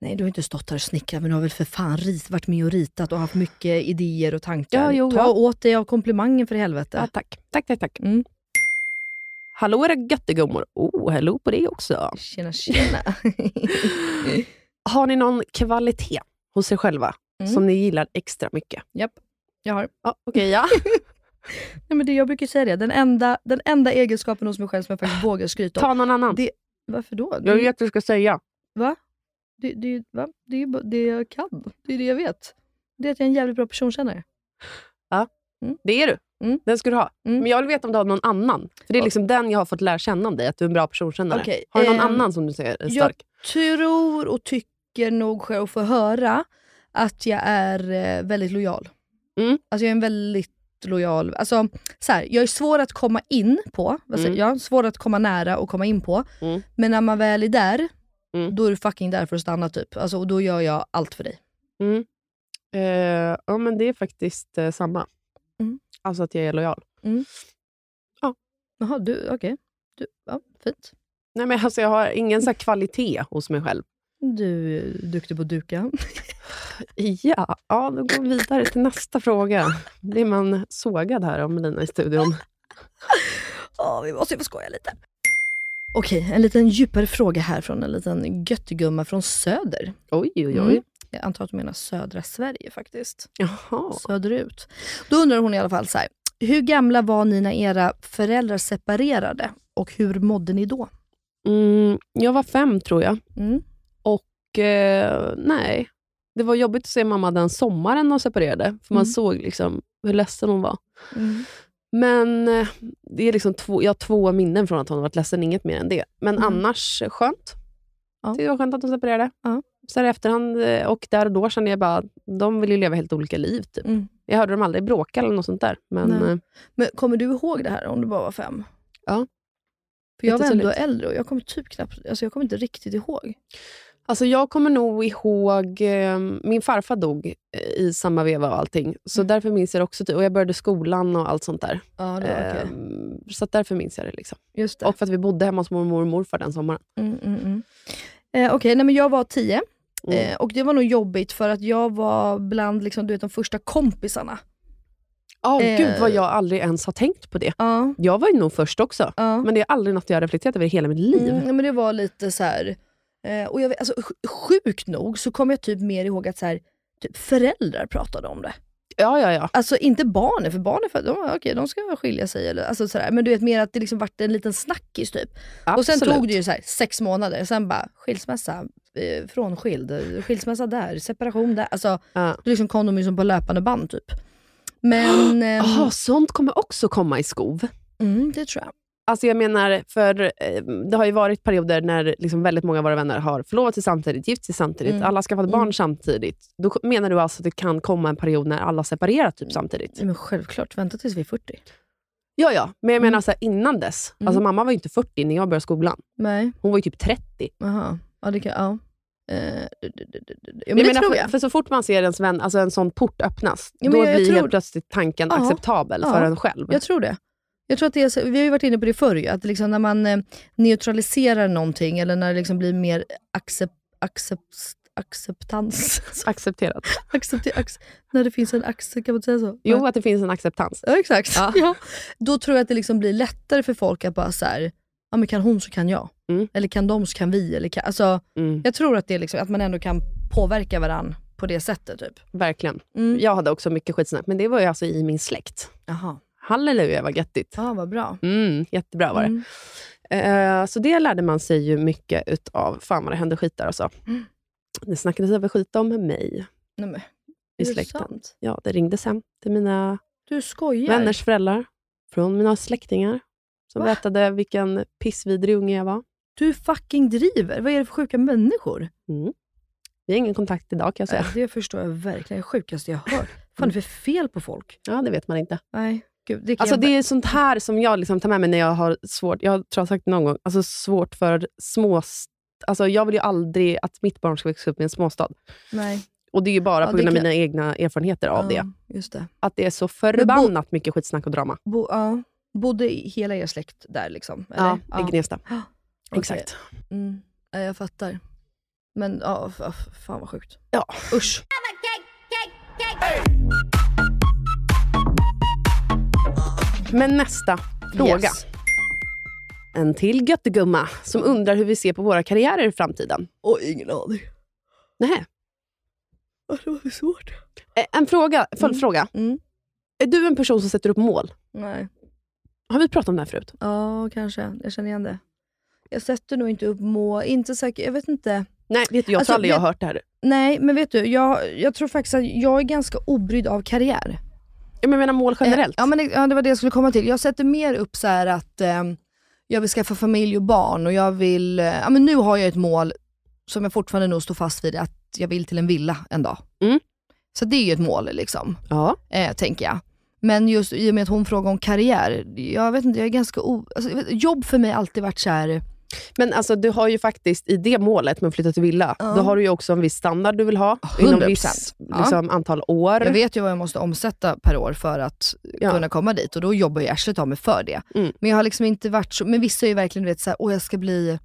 S2: Nej, du har inte stått här och snickrat, men du har väl för fan rit, varit med och ritat och haft mycket idéer och tankar.
S4: Ja, jo,
S2: Ta
S4: ja.
S2: åt dig av komplimangen för i helvete.
S4: Ja, tack. Tack, tack, tack.
S2: Mm.
S4: Ah. Hallå era göttegummor. Oh, hello på det också.
S2: Tjena,
S4: *laughs*
S2: tjena.
S4: Har ni någon kvalitet hos er själva
S2: Mm.
S4: som ni gillar extra mycket?
S2: Japp, jag har.
S4: Ja, Okej, ja.
S2: Nej, men det, jag brukar säga det, den enda, den enda egenskapen hos mig själv som jag faktiskt vågar skryta om.
S4: Ah, Ta någon annan.
S2: Det- Varför då?
S4: Jag
S2: Det,
S4: vet vad du ska säga.
S2: va? Det, det, va? det är ju bara det jag kan. Det är det jag vet. Det är att jag är en jävligt bra personkännare.
S4: Det är du.
S2: Mm.
S4: Den ska du ha.
S2: Mm.
S4: Men jag vill veta om du har någon annan. För Det är
S2: Ja.
S4: liksom den jag har fått lära känna om dig, att du är en bra personkännare.
S2: Okej,
S4: Har du någon
S2: ehm,
S4: annan som du säger är
S2: jag-
S4: stark?
S2: tror och tycker nog själv och får höra att jag är eh, väldigt lojal.
S4: Mm.
S2: Alltså jag är en väldigt lojal, alltså så här, jag är svår att komma in på, vad säger jag? svår att komma nära och komma in på.
S4: Mm.
S2: Men när man väl är där,
S4: Mm.
S2: då är du fucking där för att stanna typ. Alltså, och då gör jag allt för dig.
S4: Mm. Eh, ja, men det är faktiskt eh, samma.
S2: Mm.
S4: Alltså att jag är lojal.
S2: Jaha, du, okej. Du, ja, fint.
S4: Nej, men alltså, jag har ingen så här kvalitet hos mig själv.
S2: Du är duktig på att duka.
S4: Ja, ja, då går vi vidare till nästa fråga. Blir man sågad här av Melina i studion?
S2: *laughs* Ja, vi måste ju få skoja lite. Okej, en liten djupare fråga här från en liten göttegumma från söder.
S4: *laughs* Oj, oj, oj.
S2: Mm. Jag antar att du menar södra Sverige faktiskt.
S4: Jaha.
S2: Söderut. Då undrar hon i alla fall så här. Hur gamla var ni när era föräldrar separerade och hur mådde ni då?
S4: Mm, jag var fem, tror jag.
S2: Mm.
S4: Och, eh, nej, det var jobbigt att se mamma den sommaren de separerade. För man
S2: Mm.
S4: såg liksom hur ledsen hon var. Men eh, det är liksom två, jag har två minnen från att hon har varit ledsen, inget mer än det. Men
S2: Mm.
S4: annars eh, skönt.
S2: Ja.
S4: Tyckte Det var skönt att de separerade.
S2: Ja.
S4: Så här i efterhand eh, och där och då kände jag bara, de vill ju leva helt olika liv. Typ.
S2: Mm.
S4: Jag hörde dem aldrig bråka eller något sånt där. Men
S2: Nej.
S4: eh,
S2: Men kommer du ihåg det här om du bara var fem?
S4: Ja.
S2: För jag var ändå
S4: Jättetydligt.
S2: äldre och jag kommer typ knappt, alltså jag kommer inte riktigt ihåg.
S4: alltså jag kommer nog ihåg, eh, min farfar dog eh, i samma veva och allting. Så
S2: Mm.
S4: därför minns jag det också. Typ, och jag började skolan och allt sånt där.
S2: Ja, det var okej.
S4: Ehm, Så att därför minns jag det. Liksom.
S2: Eh, Just det.
S4: Och för att vi bodde hemma hos mormor och morfar den sommaren.
S2: Mm, mm, mm. Eh, Okej, nej, men jag var tio
S4: Mm.
S2: eh, och det var nog jobbigt för att jag var bland liksom, du vet, de första kompisarna.
S4: Åh,
S2: eh.
S4: Gud vad jag aldrig ens har tänkt på det.
S2: Ja,
S4: Jag var ju nog först också.
S2: ja.
S4: Men det är aldrig något jag har reflekterat över i hela mitt liv.
S2: Mm, ja, men det var lite så här, eh, och jag, vet- alltså, sj- sjukt nog så kommer jag typ mer ihåg att så här, typ föräldrar pratade om det.
S4: Ja, ja, ja.
S2: Alltså inte barnen, för barnen för, de, var, okej, de ska skilja sig. Eller, alltså, så där. Men du vet mer att det liksom vart en liten snackis typ. Och sen
S4: Absolut.
S2: tog det ju så här, sex månader, sen bara skilsmässa, eh, frånskild, eh, skilsmässa där, separation där. Alltså,
S4: Ja.
S2: då liksom kom de ju som på löpande band typ.
S4: *gasps*
S2: Men ehm,
S4: Jaha, sånt kommer också komma i skov.
S2: mm, det tror jag.
S4: Alltså jag menar, för eh, det har ju varit perioder när liksom väldigt många av våra vänner har förlovat sig samtidigt, gift sig samtidigt,
S2: Mm.
S4: alla skaffat barn
S2: Mm.
S4: samtidigt. Då ko- menar du alltså att det kan komma en period när alla separerar
S2: Mm.
S4: typ samtidigt?
S2: Men självklart, vänta tills vi är 40.
S4: Ja, ja. Men jag
S2: Mm.
S4: menar så här, innan dess.
S2: Mm.
S4: Alltså mamma var ju inte 40 när jag började skolan.
S2: Nej,
S4: Hon var ju typ 30.
S2: jaha. Ja, det kan, ja. Eh, du- du- du- du- du- ja,
S4: Jag
S2: men det
S4: menar,
S2: tror
S4: för,
S2: jag.
S4: För så fort man ser ens vän, alltså en sån port öppnas,
S2: Ja, men
S4: då
S2: jag- jag
S4: blir
S2: tror-
S4: helt plötsligt tanken
S2: Ja.
S4: acceptabel för
S2: Ja.
S4: en själv.
S2: Jag tror det. Jag tror att det är, så- vi har ju varit inne på det förr, ju, att liksom när man eh, neutraliserar någonting eller när det liksom blir mer accept, accept, acceptans. *laughs*
S4: Accepterat.
S2: Accepte- ac- när det finns en accept, kan man säga så?
S4: Jo, att det finns en acceptans.
S2: Ja, exakt. *laughs* Ja. Då tror jag att det liksom blir lättare för folk att bara så här, ja men kan hon så kan jag.
S4: Mm.
S2: Eller kan de så kan vi. Eller kan, alltså, Jag tror att, det är liksom, att man ändå kan påverka varandra på det sättet. Typ.
S4: Verkligen. Jag hade också mycket skitsnack, men det var ju alltså i min släkt.
S2: Jaha.
S4: Halleluja vad göttigt.
S2: Ja, Mm. vad bra.
S4: Mm, jättebra var det.
S2: Mm.
S4: Eh, så det lärde man sig ju mycket utav. Fan vad det hände skit där och så.
S2: Mm.
S4: Det snackades över skit om mig
S2: Nej, men,
S4: i
S2: är det
S4: släkten.
S2: sant?
S4: Ja, det ringdes hem till mina
S2: Du skojar.
S4: vänners föräldrar, från mina släktingar, som
S2: Va?
S4: berättade vilken pissvidrig unge jag var.
S2: Du fucking driver. Vad är det för sjuka människor?
S4: Mm. Vi har ingen kontakt idag kan jag säga.
S2: Ja, Det förstår jag verkligen. Det sjukaste jag har hört. Fan, det är för fel på folk.
S4: Ja, det vet man inte.
S2: Nej, gud. Det kan
S4: Alltså
S2: jag...
S4: det är sånt här som jag liksom tar med mig när jag har svårt, jag tror jag har sagt det någon gång, alltså svårt för små... Alltså jag vill ju aldrig att mitt barn ska växa upp i en småstad.
S2: Nej.
S4: Och det är ju bara
S2: Ja,
S4: på
S2: det
S4: grund av
S2: kan-
S4: mina egna erfarenheter av
S2: Ja,
S4: det.
S2: Just det.
S4: Att det är så förbannat mycket skitsnack och drama.
S2: Bo, ja. Bodde i- hela er släkt där liksom? Eller?
S4: Ja, i Gnesta.
S2: Ja. Okej.
S4: Exakt.
S2: Mm. Ja, jag fattar. Men ja, f- f- fan vad sjukt.
S4: Ja.
S2: Usch.
S4: Men nästa fråga.
S2: Yes.
S4: En till göttegumma som undrar hur vi ser på våra karriärer i framtiden.
S2: Oj, ingen aning.
S4: Nej.
S2: Ja, Det var för svårt.
S4: En fråga, följdfråga.
S2: Mm.
S4: Är du en person som sätter upp mål?
S2: Nej.
S4: Har vi pratat om det här förut?
S2: Ja, kanske. Jag känner igen det. Jag sätter nog inte upp må... Inte säkert. Jag vet inte.
S4: Nej, vet du, jag
S2: Alltså,
S4: tror aldrig jag
S2: vet-
S4: har hört det här.
S2: Nej, men vet du, jag, jag tror faktiskt att jag är ganska obrydd av karriär.
S4: Jag menar mål generellt.
S2: Eh, Ja, men det, ja, det var det jag skulle komma till. Jag sätter mer upp så här att ehm, jag vill skaffa familj och barn och jag vill... eh, ja, men nu har jag ett mål som jag fortfarande nog står fast vid, att jag vill till en villa en dag.
S4: Mm.
S2: Så det är ju ett mål liksom,
S4: Ja.
S2: eh, tänker jag. Men just i och med att hon frågar om karriär, jag vet inte, jag är ganska... O, alltså, jag vet, jobb för mig har alltid varit så här...
S4: Men alltså, du har ju faktiskt i det målet med att flytta till villa,
S2: Ja.
S4: då har du ju också en viss standard du vill ha. Inom
S2: 100%.
S4: viss
S2: Ja.
S4: liksom, antal år.
S2: Jag vet ju vad jag måste omsätta per år för att
S4: Ja.
S2: kunna komma dit och då jobbar ju arslet av mig för det.
S4: Mm.
S2: Men jag har liksom inte varit så, men vissa är ju verkligen du vet såhär, åh jag ska bli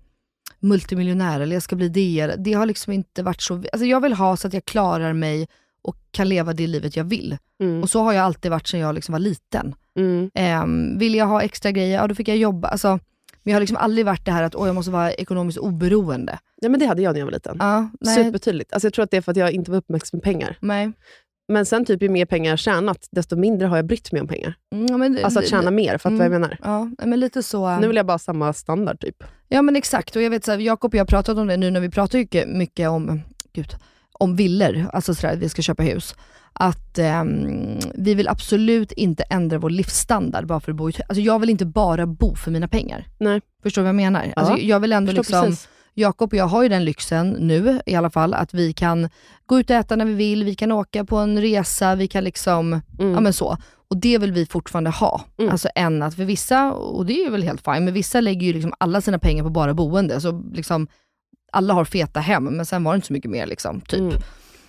S2: multimiljonär eller jag ska bli det. eller-" Det har liksom inte varit så, alltså jag vill ha så att jag klarar mig och kan leva det livet jag vill.
S4: Mm.
S2: Och så har jag alltid varit sedan jag liksom var liten.
S4: Mm.
S2: Ehm, vill jag ha extra grejer, ja då fick jag jobba. Alltså, men jag har liksom aldrig varit det här att, åh jag måste vara ekonomiskt oberoende.
S4: Ja, men det hade jag när jag var liten.
S2: Ja, nej,
S4: Supertydligt. Alltså, jag tror att det är för att jag inte var uppmärksam med pengar.
S2: nej.
S4: Men sen typ ju mer pengar jag tjänat, desto mindre har jag brytt mig om pengar.
S2: Mm, ja, men, mm,
S4: Alltså att tjäna mer, fattar du vad jag menar?
S2: Ja, men lite så.
S4: Nu vill jag bara ha samma standard typ.
S2: Ja men exakt, och jag vet så här, Jakob och jag har pratat om det nu när vi pratar mycket, mycket om, gud, om villor, alltså sådär att vi ska köpa hus. Att ehm, vi vill absolut inte ändra vår livsstandard bara för att bo i ett hus. Alltså jag vill inte bara bo för mina pengar.
S4: Nej.
S2: Förstår du vad jag menar? Alltså,
S4: Ja.
S2: jag vill ändå
S4: Förstår
S2: liksom,
S4: precis.
S2: Jakob och jag har ju den lyxen nu i alla fall, att vi kan gå ut och äta när vi vill, vi kan åka på en resa, vi kan liksom,
S4: Mm.
S2: ja men så. Och det vill vi fortfarande ha. Alltså än att för vissa, och det är ju väl helt fine, men vissa lägger ju liksom alla sina pengar på bara boende. Så liksom, alla har feta hem, men sen var det inte så mycket mer liksom, typ.
S4: Mm.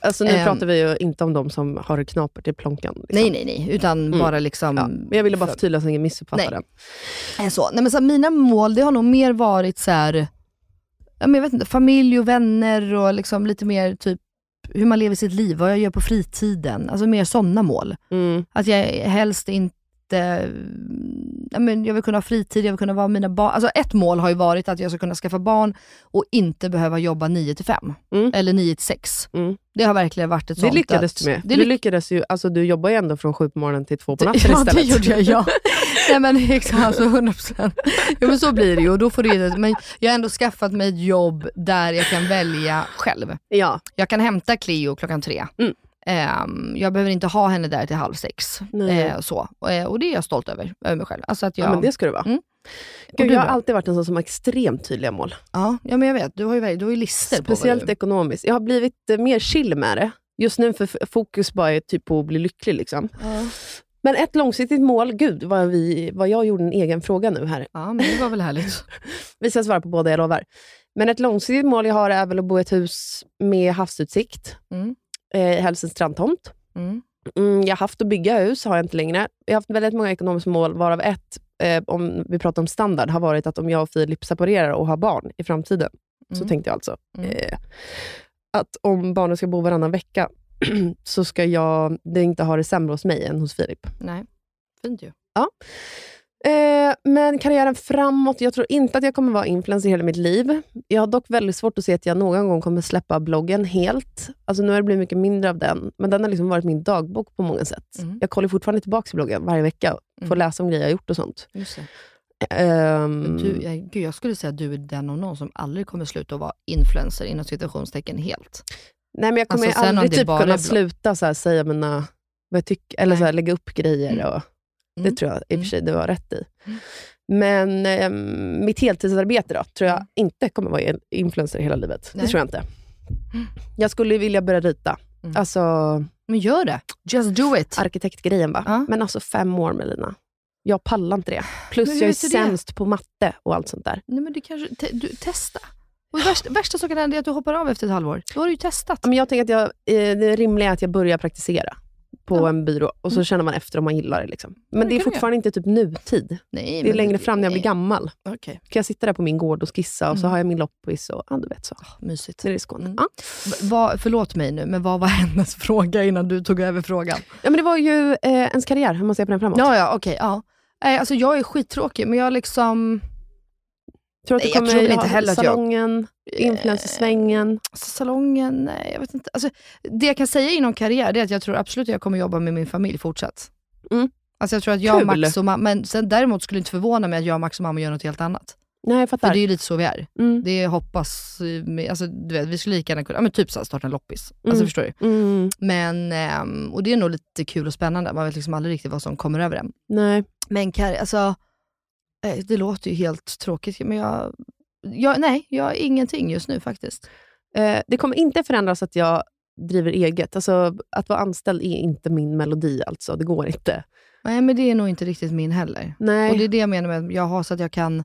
S4: Alltså nu
S2: Ehm.
S4: pratar vi ju inte om de som har knapert i plånkan. Liksom.
S2: Nej, nej, nej, utan bara liksom...
S4: Ja, men jag ville bara förtydliga så ingen missuppfattar
S2: Nej.
S4: den.
S2: Eh, Så. Nej, men så här, mina mål, det har nog mer varit så här, ja, men jag vet inte, familj och vänner och liksom lite mer typ hur man lever sitt liv, vad jag gör på fritiden. Alltså mer sådana mål.
S4: Mm.
S2: Att jag helst inte, ja, men jag vill kunna ha fritid, jag vill kunna vara med mina barn. Alltså ett mål har ju varit att jag ska kunna skaffa barn och inte behöva jobba 9 till 5
S4: Mm.
S2: eller 9 till 6.
S4: Mm.
S2: Det har verkligen varit ett
S4: Det
S2: sånt.
S4: lyckades
S2: att-
S4: du med.
S2: Det
S4: du,
S2: lyck-
S4: lyckades ju, alltså, du jobbar ju ändå från sju på morgonen till två på natten
S2: *laughs* ja,
S4: istället.
S2: det gjorde jag. Ja. Nej men exakt, alltså 100%. Jo men så blir det ju och då får det, men jag har ändå skaffat mig ett jobb där jag kan välja själv.
S4: *laughs* Ja.
S2: Jag kan hämta Cleo klockan tre.
S4: Mm.
S2: Ehm, jag behöver inte ha henne där till halv sex.
S4: Nej.
S2: Eh, så. Och, eh, och det är jag stolt över, över mig själv. Alltså att jag,
S4: ja, men det ska du vara.
S2: Mm. Och
S4: Gud,
S2: du
S4: jag har
S2: då?
S4: alltid varit en sån som har extremt tydliga mål.
S2: ja, ja, men jag vet, du har ju, du har ju listor på vad
S4: Speciellt
S2: du...
S4: ekonomiskt. Jag har blivit eh, mer chill med det. Just nu för f- fokus bara är typ på att bli lycklig. Liksom.
S2: Ja.
S4: Men ett långsiktigt mål, gud vad, vi, vad jag gjorde en egen fråga nu här. *laughs*
S2: ja men det var väl härligt.
S4: Vi ska svara på båda, jag lovar. Men ett långsiktigt mål jag har är väl att bo i ett hus med havsutsikt.
S2: Mm.
S4: Eh, helst en strandtomt.
S2: Mm.
S4: Mm, jag har haft att bygga hus, har jag inte längre. Jag har haft väldigt många ekonomiska mål, varav ett, eh, om vi pratar om standard, har varit att om jag och Filip separerar och har barn i framtiden, så
S2: Mm.
S4: tänkte jag alltså,
S2: Mm.
S4: eh, att om barnen ska bo varannan vecka *clears throat* så ska jag det inte ha det sämre hos mig än hos Filip.
S2: Nej, fint ju.
S4: Ja. Eh, men karriären framåt. Jag tror inte att jag kommer vara influencer hela mitt liv. Jag har dock väldigt svårt att se att jag någon gång kommer släppa bloggen helt. Alltså nu har det blivit mycket mindre av den, men den har liksom varit min dagbok på många sätt.
S2: Mm.
S4: Jag kollar fortfarande tillbaka till bloggen varje vecka och får
S2: Mm.
S4: läsa om grejer jag gjort och sånt.
S2: Just det.
S4: Ehm,
S2: Men Du, jag, gud, jag skulle säga att du är den av någon som aldrig kommer sluta att vara influencer inom situationstecken helt.
S4: Nej, men jag kommer
S2: Alltså, sen om
S4: aldrig
S2: det
S4: typ
S2: bara
S4: kunna
S2: är blogg.
S4: sluta så här, säga mina, vad jag tycker, eller så här, lägga upp
S2: Mm.
S4: grejer. Och, Det tror jag i och för sig du har rätt i. Men eh, mitt heltidsarbete då, tror jag inte kommer vara en influencer hela
S2: Mm. Nej.
S4: livet.
S2: Mm.
S4: Det tror jag inte. Jag skulle vilja börja rita. Alltså,
S2: Men gör det. Just do it.
S4: Arkitektgrejen va? Men alltså fem år Melina. Jag pallar inte det. Plus
S2: Men hur
S4: jag är
S2: vet du det?
S4: sämst på matte och allt sånt där.
S2: Nej, men det kanske, te, du, testa. Och värsta, värsta saken är att du hoppar av efter ett halvår. Då har du ju testat.
S4: Men jag tänker att jag, eh, det rimliga är att jag börjar praktisera på en byrå och så känner man efter om man gillar det. Liksom. Men
S2: Men Mm. det
S4: det
S2: kan
S4: är
S2: du
S4: fortfarande inte typ nutid.
S2: Nej, Mm.
S4: det är
S2: men
S4: längre
S2: det-
S4: fram när jag blir gammal.
S2: Okej.
S4: Kan jag sitta där på min gård och skissa och så har jag min loppis och ja, du vet så.
S2: Ah. Mysigt. Mm.
S4: Nere i Skåne. Ja.
S2: V- vad- förlåt mig nu, men vad var *laughs* hennes fråga innan du tog över frågan?
S4: ja, men det var ju eh, ens karriär, hur man ser på den framåt.
S2: Ja, ja, okej. ja. Nej, alltså jag är skittråkig, men jag liksom...
S4: Tror att
S2: Nej, jag
S4: du kommer
S2: tror väl
S4: ha
S2: inte heller att jag- Eh.
S4: salongen, influencersvängen?
S2: Alltså, salongen, nej, jag vet inte. Alltså, det jag kan säga inom karriär det är att jag tror absolut att jag kommer jobba med min familj fortsatt.
S4: Mm.
S2: Alltså jag tror att jag,
S4: Kul.
S2: Max och mamma, men sen däremot skulle det inte förvåna mig att jag, Max och mamma gör något helt annat.
S4: Nej, jag
S2: För
S4: fattar.
S2: det är ju lite så vi är.
S4: Mm.
S2: Det hoppas, eh, med- alltså, du vet, vi skulle lika gärna kunna, ja, men typ så här, starta en loppis. Alltså
S4: Mm.
S2: förstår du?
S4: Mm.
S2: Men, ehm, och det är nog lite kul och spännande, man vet liksom aldrig riktigt vad som kommer över en.
S4: Nej.
S2: Men Kari, alltså, eh, det låter ju helt tråkigt, men jag, jag, nej, jag har ingenting just nu faktiskt.
S4: Eh, det kommer inte förändras att jag driver eget. Alltså, att vara anställd är inte min melodi. alltså. Det går inte.
S2: Nej, men det är nog inte riktigt min heller.
S4: Nej.
S2: Och det är det jag menar med att jag har så att jag kan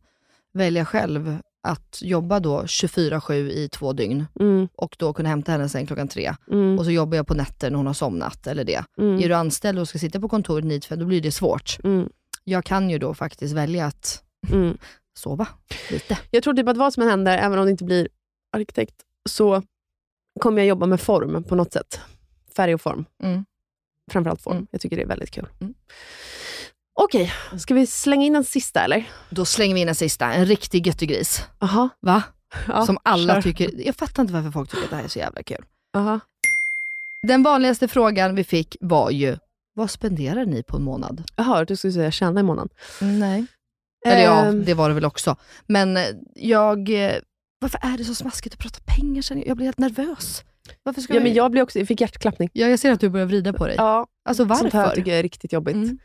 S2: välja själv att jobba då 24-7 i två dygn
S4: Mm.
S2: och då kunna hämta henne sen klockan tre.
S4: Mm.
S2: Och så jobbar jag på nätter när hon har somnat eller det.
S4: Mm.
S2: Är du anställd och ska sitta på kontoret 9 till fem, då blir det svårt.
S4: Mm.
S2: Jag kan ju då faktiskt välja att
S4: Mm.
S2: sova lite.
S4: Jag tror typ att vad som än händer, även om det inte blir arkitekt, så kommer jag jobba med form på något sätt. Färg och form.
S2: Mm.
S4: Framförallt form.
S2: Mm.
S4: Jag tycker det är väldigt kul.
S2: Mm.
S4: Okej, ska vi slänga in en sista eller?
S2: Då slänger vi in en sista, en riktig göttegris.
S4: Aha.
S2: Va?
S4: Ja,
S2: Som alla
S4: kör.
S2: tycker, jag fattar inte varför folk tycker att det här är så jävla kul.
S4: Aha.
S2: Den vanligaste frågan vi fick var ju, vad spenderar ni på en månad?
S4: Jag hörde att du skulle säga tjäna i månaden.
S2: Nej. Eller ja,
S4: Ehm.
S2: det var det väl också. Men eh, jag, eh, varför är det så smaskigt att prata pengar? känner jag? Jag blir helt nervös. Varför ska
S4: Ja, men
S2: jag...
S4: jag, blev också, jag fick hjärtklappning.
S2: Ja, jag ser att du börjar vrida på dig.
S4: Ja,
S2: Alltså
S4: Sånt här
S2: varför?
S4: tycker jag är riktigt jobbigt.
S2: Mm.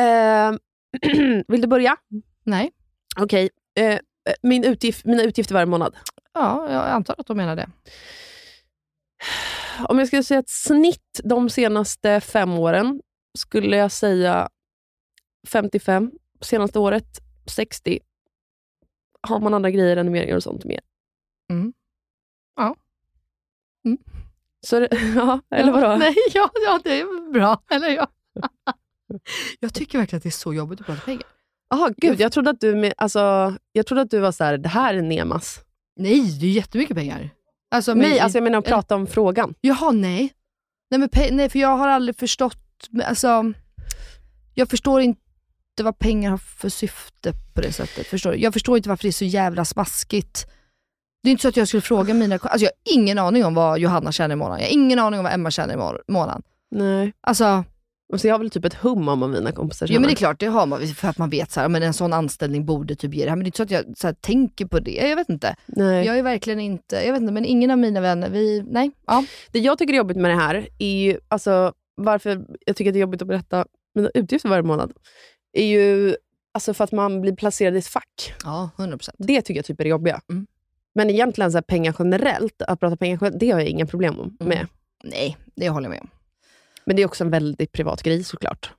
S4: Ehm, *clears throat* vill du börja?
S2: Nej,
S4: Okej. Eh, min utgift, mina utgifter varje månad.
S2: ja, jag antar att de menar det.
S4: Om jag skulle säga ett snitt de senaste fem åren skulle jag säga 55. Senaste året 60. Har man andra grejer, renoveringar och sånt med?
S2: Mm. Ja. Mm.
S4: Så det, *laughs* ja, eller vadå?
S2: Ja, *laughs* nej, ja, ja, det är bra. Eller ja. *laughs* jag tycker verkligen att det är så jobbigt att prata pengar.
S4: Jaha, gud. Jag trodde att du, med, alltså, jag trodde att du var så här, det här är Nemas.
S2: Nej, det är jättemycket pengar. Alltså, men-
S4: Nej, alltså jag menar att prata om frågan.
S2: Jaha, nej. Nej, men pe- nej, för jag har aldrig förstått, men alltså, jag förstår inte vad pengar har för syfte på det sättet. Förstår du? Jag förstår inte varför det är så jävla smaskigt. Det är inte så att jag skulle fråga mina, alltså jag har ingen aning om vad Johanna tjänar i månaden. Jag har ingen aning om vad Emma tjänar i må- månaden.
S4: Nej.
S2: Alltså,
S4: Och så jag har väl typ ett hum om vad mina kompisar
S2: ja men det är
S4: tjänar.
S2: klart, det har man för att man vet så här, men en sån anställning borde typ ge det här. Men det är inte så att jag så här, tänker på det. Jag vet inte.
S4: Nej.
S2: Jag är verkligen inte, jag vet inte, men ingen av mina vänner, vi, nej. Ja.
S4: Det jag tycker är jobbigt med det här, är ju, alltså, varför jag tycker att det är jobbigt att berätta mina utgifter varje månad, är ju alltså, för att man blir placerad i ett fack.
S2: Ja, 100%.
S4: Det tycker jag typ är det jobbiga.
S2: Mm.
S4: Men egentligen så här, pengar generellt, att prata pengar generellt, det har jag inga problem om-
S2: Mm.
S4: med.
S2: Nej, det håller jag med om.
S4: Men det är också en väldigt privat grej såklart.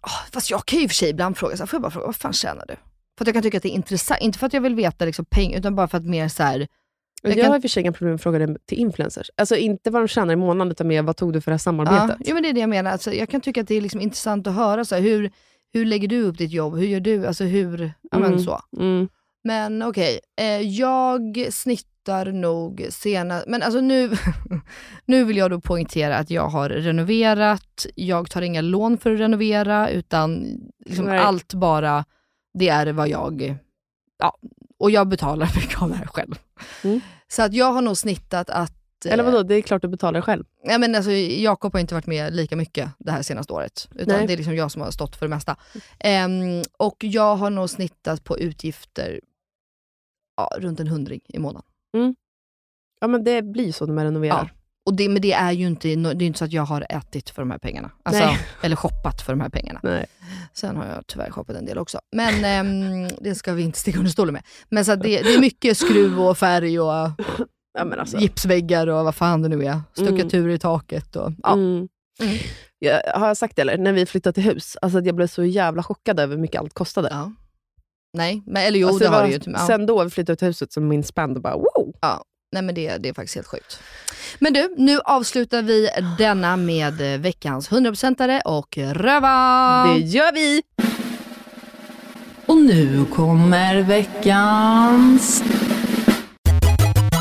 S2: Ah, Fast jag kan ju i och för sig ibland fråga, så här, får jag bara fråga, vad fan tjänar du? För att jag kan tycka att det är intressant, inte för att jag vill veta liksom, pengar, utan bara för att mer så här,
S4: Jag,
S2: jag kan,
S4: har i och för sig inga problem att fråga det till influencers. Alltså inte vad de tjänar i månaden, utan mer vad tog du för det här
S2: ja,
S4: samarbetet?
S2: ja, men det är det jag menar. Alltså, jag kan tycka att det är liksom intressant att höra, så här, hur, hur lägger du upp ditt jobb? Hur gör du? Alltså hur, ja men
S4: Mm.
S2: så.
S4: Mm.
S2: Men okej, eh, jag snittar flyttar nog senast, men alltså nu, *laughs* nu vill jag då poängtera att jag har renoverat, jag tar inga lån för att renovera utan liksom
S4: Nej.
S2: allt bara, det är vad jag, ja, och jag betalar *laughs* mycket av det här själv. Så att jag har nog snittat att...
S10: Mm. Eller vadå, det är klart du betalar själv.
S2: Ja, men alltså, Jakob har inte varit med lika mycket det här senaste året. Utan
S10: Nej.
S2: det är liksom jag som har stått för det mesta. Ehm, och jag har nog snittat på utgifter ja, runt en hundring i månaden.
S4: Ja, men det blir ju så när man renoverar.
S2: Och det, men det är ju inte, det är inte så att jag har ätit för de här pengarna. Alltså,
S4: Nej.
S2: eller shoppat för de här pengarna.
S4: Nej.
S2: Sen har jag tyvärr shoppat en del också. Men ehm, det ska vi inte sticka under stolen med. Men så att det, det är mycket skruv och färg och
S4: alltså.
S2: gipsväggar och vad fan det nu är. Stuckatur i taket och ja.
S4: Mm. Jag, har jag sagt det eller? När vi flyttade till hus, alltså att jag blev så jävla chockad över hur mycket allt kostade.
S2: Nej, men, eller jo
S4: Alltså,
S2: det har
S4: var
S2: det ju. Ja.
S4: Sen då vi flyttade till huset som min spänd bara wow.
S2: Ja. Nej men det, det är faktiskt helt sjukt. Men du, nu avslutar vi denna med eh, veckans 100%are och röva!
S4: Det gör vi!
S2: Och nu kommer veckans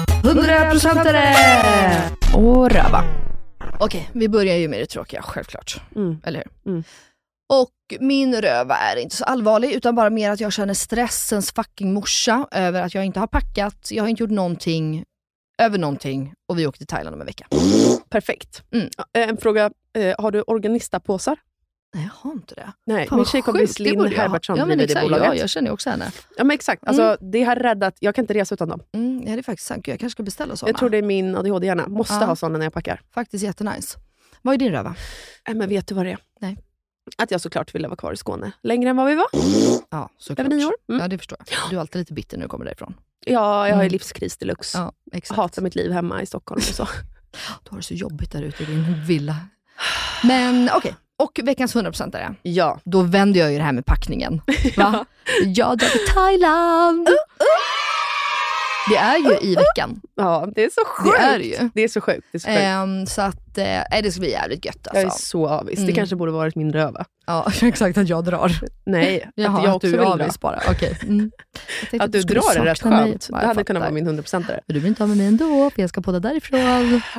S2: 100%are!
S4: Och röva.
S2: Okej, vi börjar ju med det tråkiga självklart.
S4: Mm.
S2: Eller hur?
S4: Mm.
S2: Och min röva är inte så allvarlig utan bara mer att jag känner stressens fucking morsa över att jag inte har packat, jag har inte gjort någonting över någonting och vi åkte till Thailand om en vecka.
S4: Perfekt.
S2: Mm.
S4: Ja, En fråga, eh, har du organistapåsar?
S2: Nej, jag har inte det.
S4: Nej,
S2: Fan,
S4: Eh, min
S2: vad
S4: tjejkompis
S2: sjukt, det
S4: Linn
S2: borde jag ha.
S4: Herbertsson
S2: ja, men
S4: driver
S2: exakt,
S4: det bolaget.
S2: Ja, jag Mm. känner ju också henne.
S4: Ja, men exakt. Alltså, Det har räddat, jag kan inte resa utan dem.
S2: Mm, ja, det är faktiskt sant. Gud, jag kanske ska beställa sådana.
S4: Jag tror det är min ADHD-hjärna. Måste
S2: Ja.
S4: ha såna när jag packar.
S2: Faktiskt jättenice. Vad är din röva?
S4: Äh, men vet du vad det är?
S2: Nej.
S4: Att jag såklart ville vara kvar i Skåne längre än vad vi var.
S2: Ja, såklart.
S4: Över nio år. Mm.
S2: Ja, det förstår jag. Du är alltid lite bitter när du kommer därifrån.
S4: Ja, jag har ju
S2: Mm.
S4: livskris deluxe.
S2: Ja, exakt.
S4: Hatar mitt liv hemma i Stockholm och så.
S2: Du har det så jobbigt där ute i din villa. Men okej, och veckans 100% är det.
S4: ja.
S2: Då vänder jag ju det här med
S4: *laughs*
S2: packningen. Va? jag drar till Thailand!
S4: Uh,
S2: Det är ju i veckan.
S4: ja, det är så sjukt.
S2: Det är det ju.
S4: Det är så sjukt. Det är så sjukt.
S2: Ehm, så att, eh, nej, det ska bli jävligt gött
S4: jag är
S2: alltså.
S4: så avis. Det
S2: Mm.
S4: kanske borde varit min röva.
S2: Ja, *laughs* exakt att jag drar.
S4: Nej,
S2: *laughs* Jaha,
S4: att jag också
S2: du
S4: vill
S2: är
S4: dra.
S2: avis bara. Okej. Mm. *laughs* Jag tänkte
S4: Att du
S2: skulle
S4: drar är rätt
S2: sakna mig.
S4: skönt.
S2: Ja,
S4: det
S2: jag
S4: hade kunnat
S2: fattar.
S4: vara min 100%-are.
S2: Men Du blir inte av med mig ändå, för jag ska podda därifrån.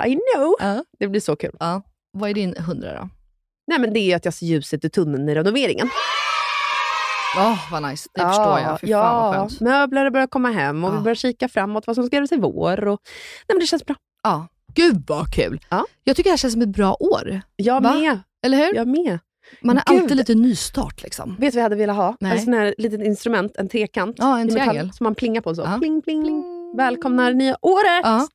S4: I know.
S2: Ja.
S4: Det blir så kul.
S2: Ja. Vad är din hundra då?
S4: Nej, men det är att jag ser ljuset i tunneln i renoveringen.
S2: Ja, vad nice. Det förstår jag. Fy fan vad
S4: ja.
S2: skönt. Ah.
S4: Möbler börjar komma hem och
S2: Ja.
S4: vi börjar kika framåt vad som ska göras i vår. Och... Nej, men det känns bra.
S2: Ja. Gud vad kul!
S4: Ja.
S2: Jag tycker det här känns som ett bra år.
S4: Jag
S2: Va?
S4: med.
S2: Eller hur?
S4: Jag med.
S2: Man har
S4: Gud.
S2: alltid lite nystart liksom.
S4: Vet du vad jag hade velat ha?
S2: Nej.
S4: En sån här litet instrument, en trekant.
S2: Ja, en
S4: i metall
S2: triangel.
S4: Som man plingar på så.
S2: Ja.
S4: Pling, pling, Välkomnar nya året!
S2: Ja.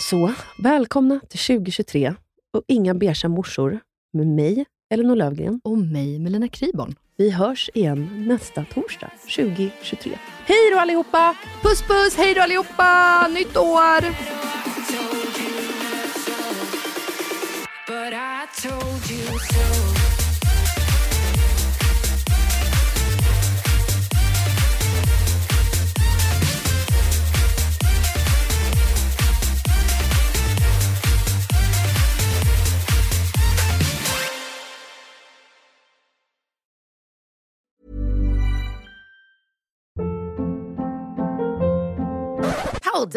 S4: Så, välkomna till 2023 och inga beiga morsor med mig, Elinor Lövgren.
S2: Och mig, Melina Kriborn.
S4: Vi hörs igen nästa torsdag 2023. Hej då allihopa!
S2: Puss puss, hej då allihopa! Nytt år!
S3: Hold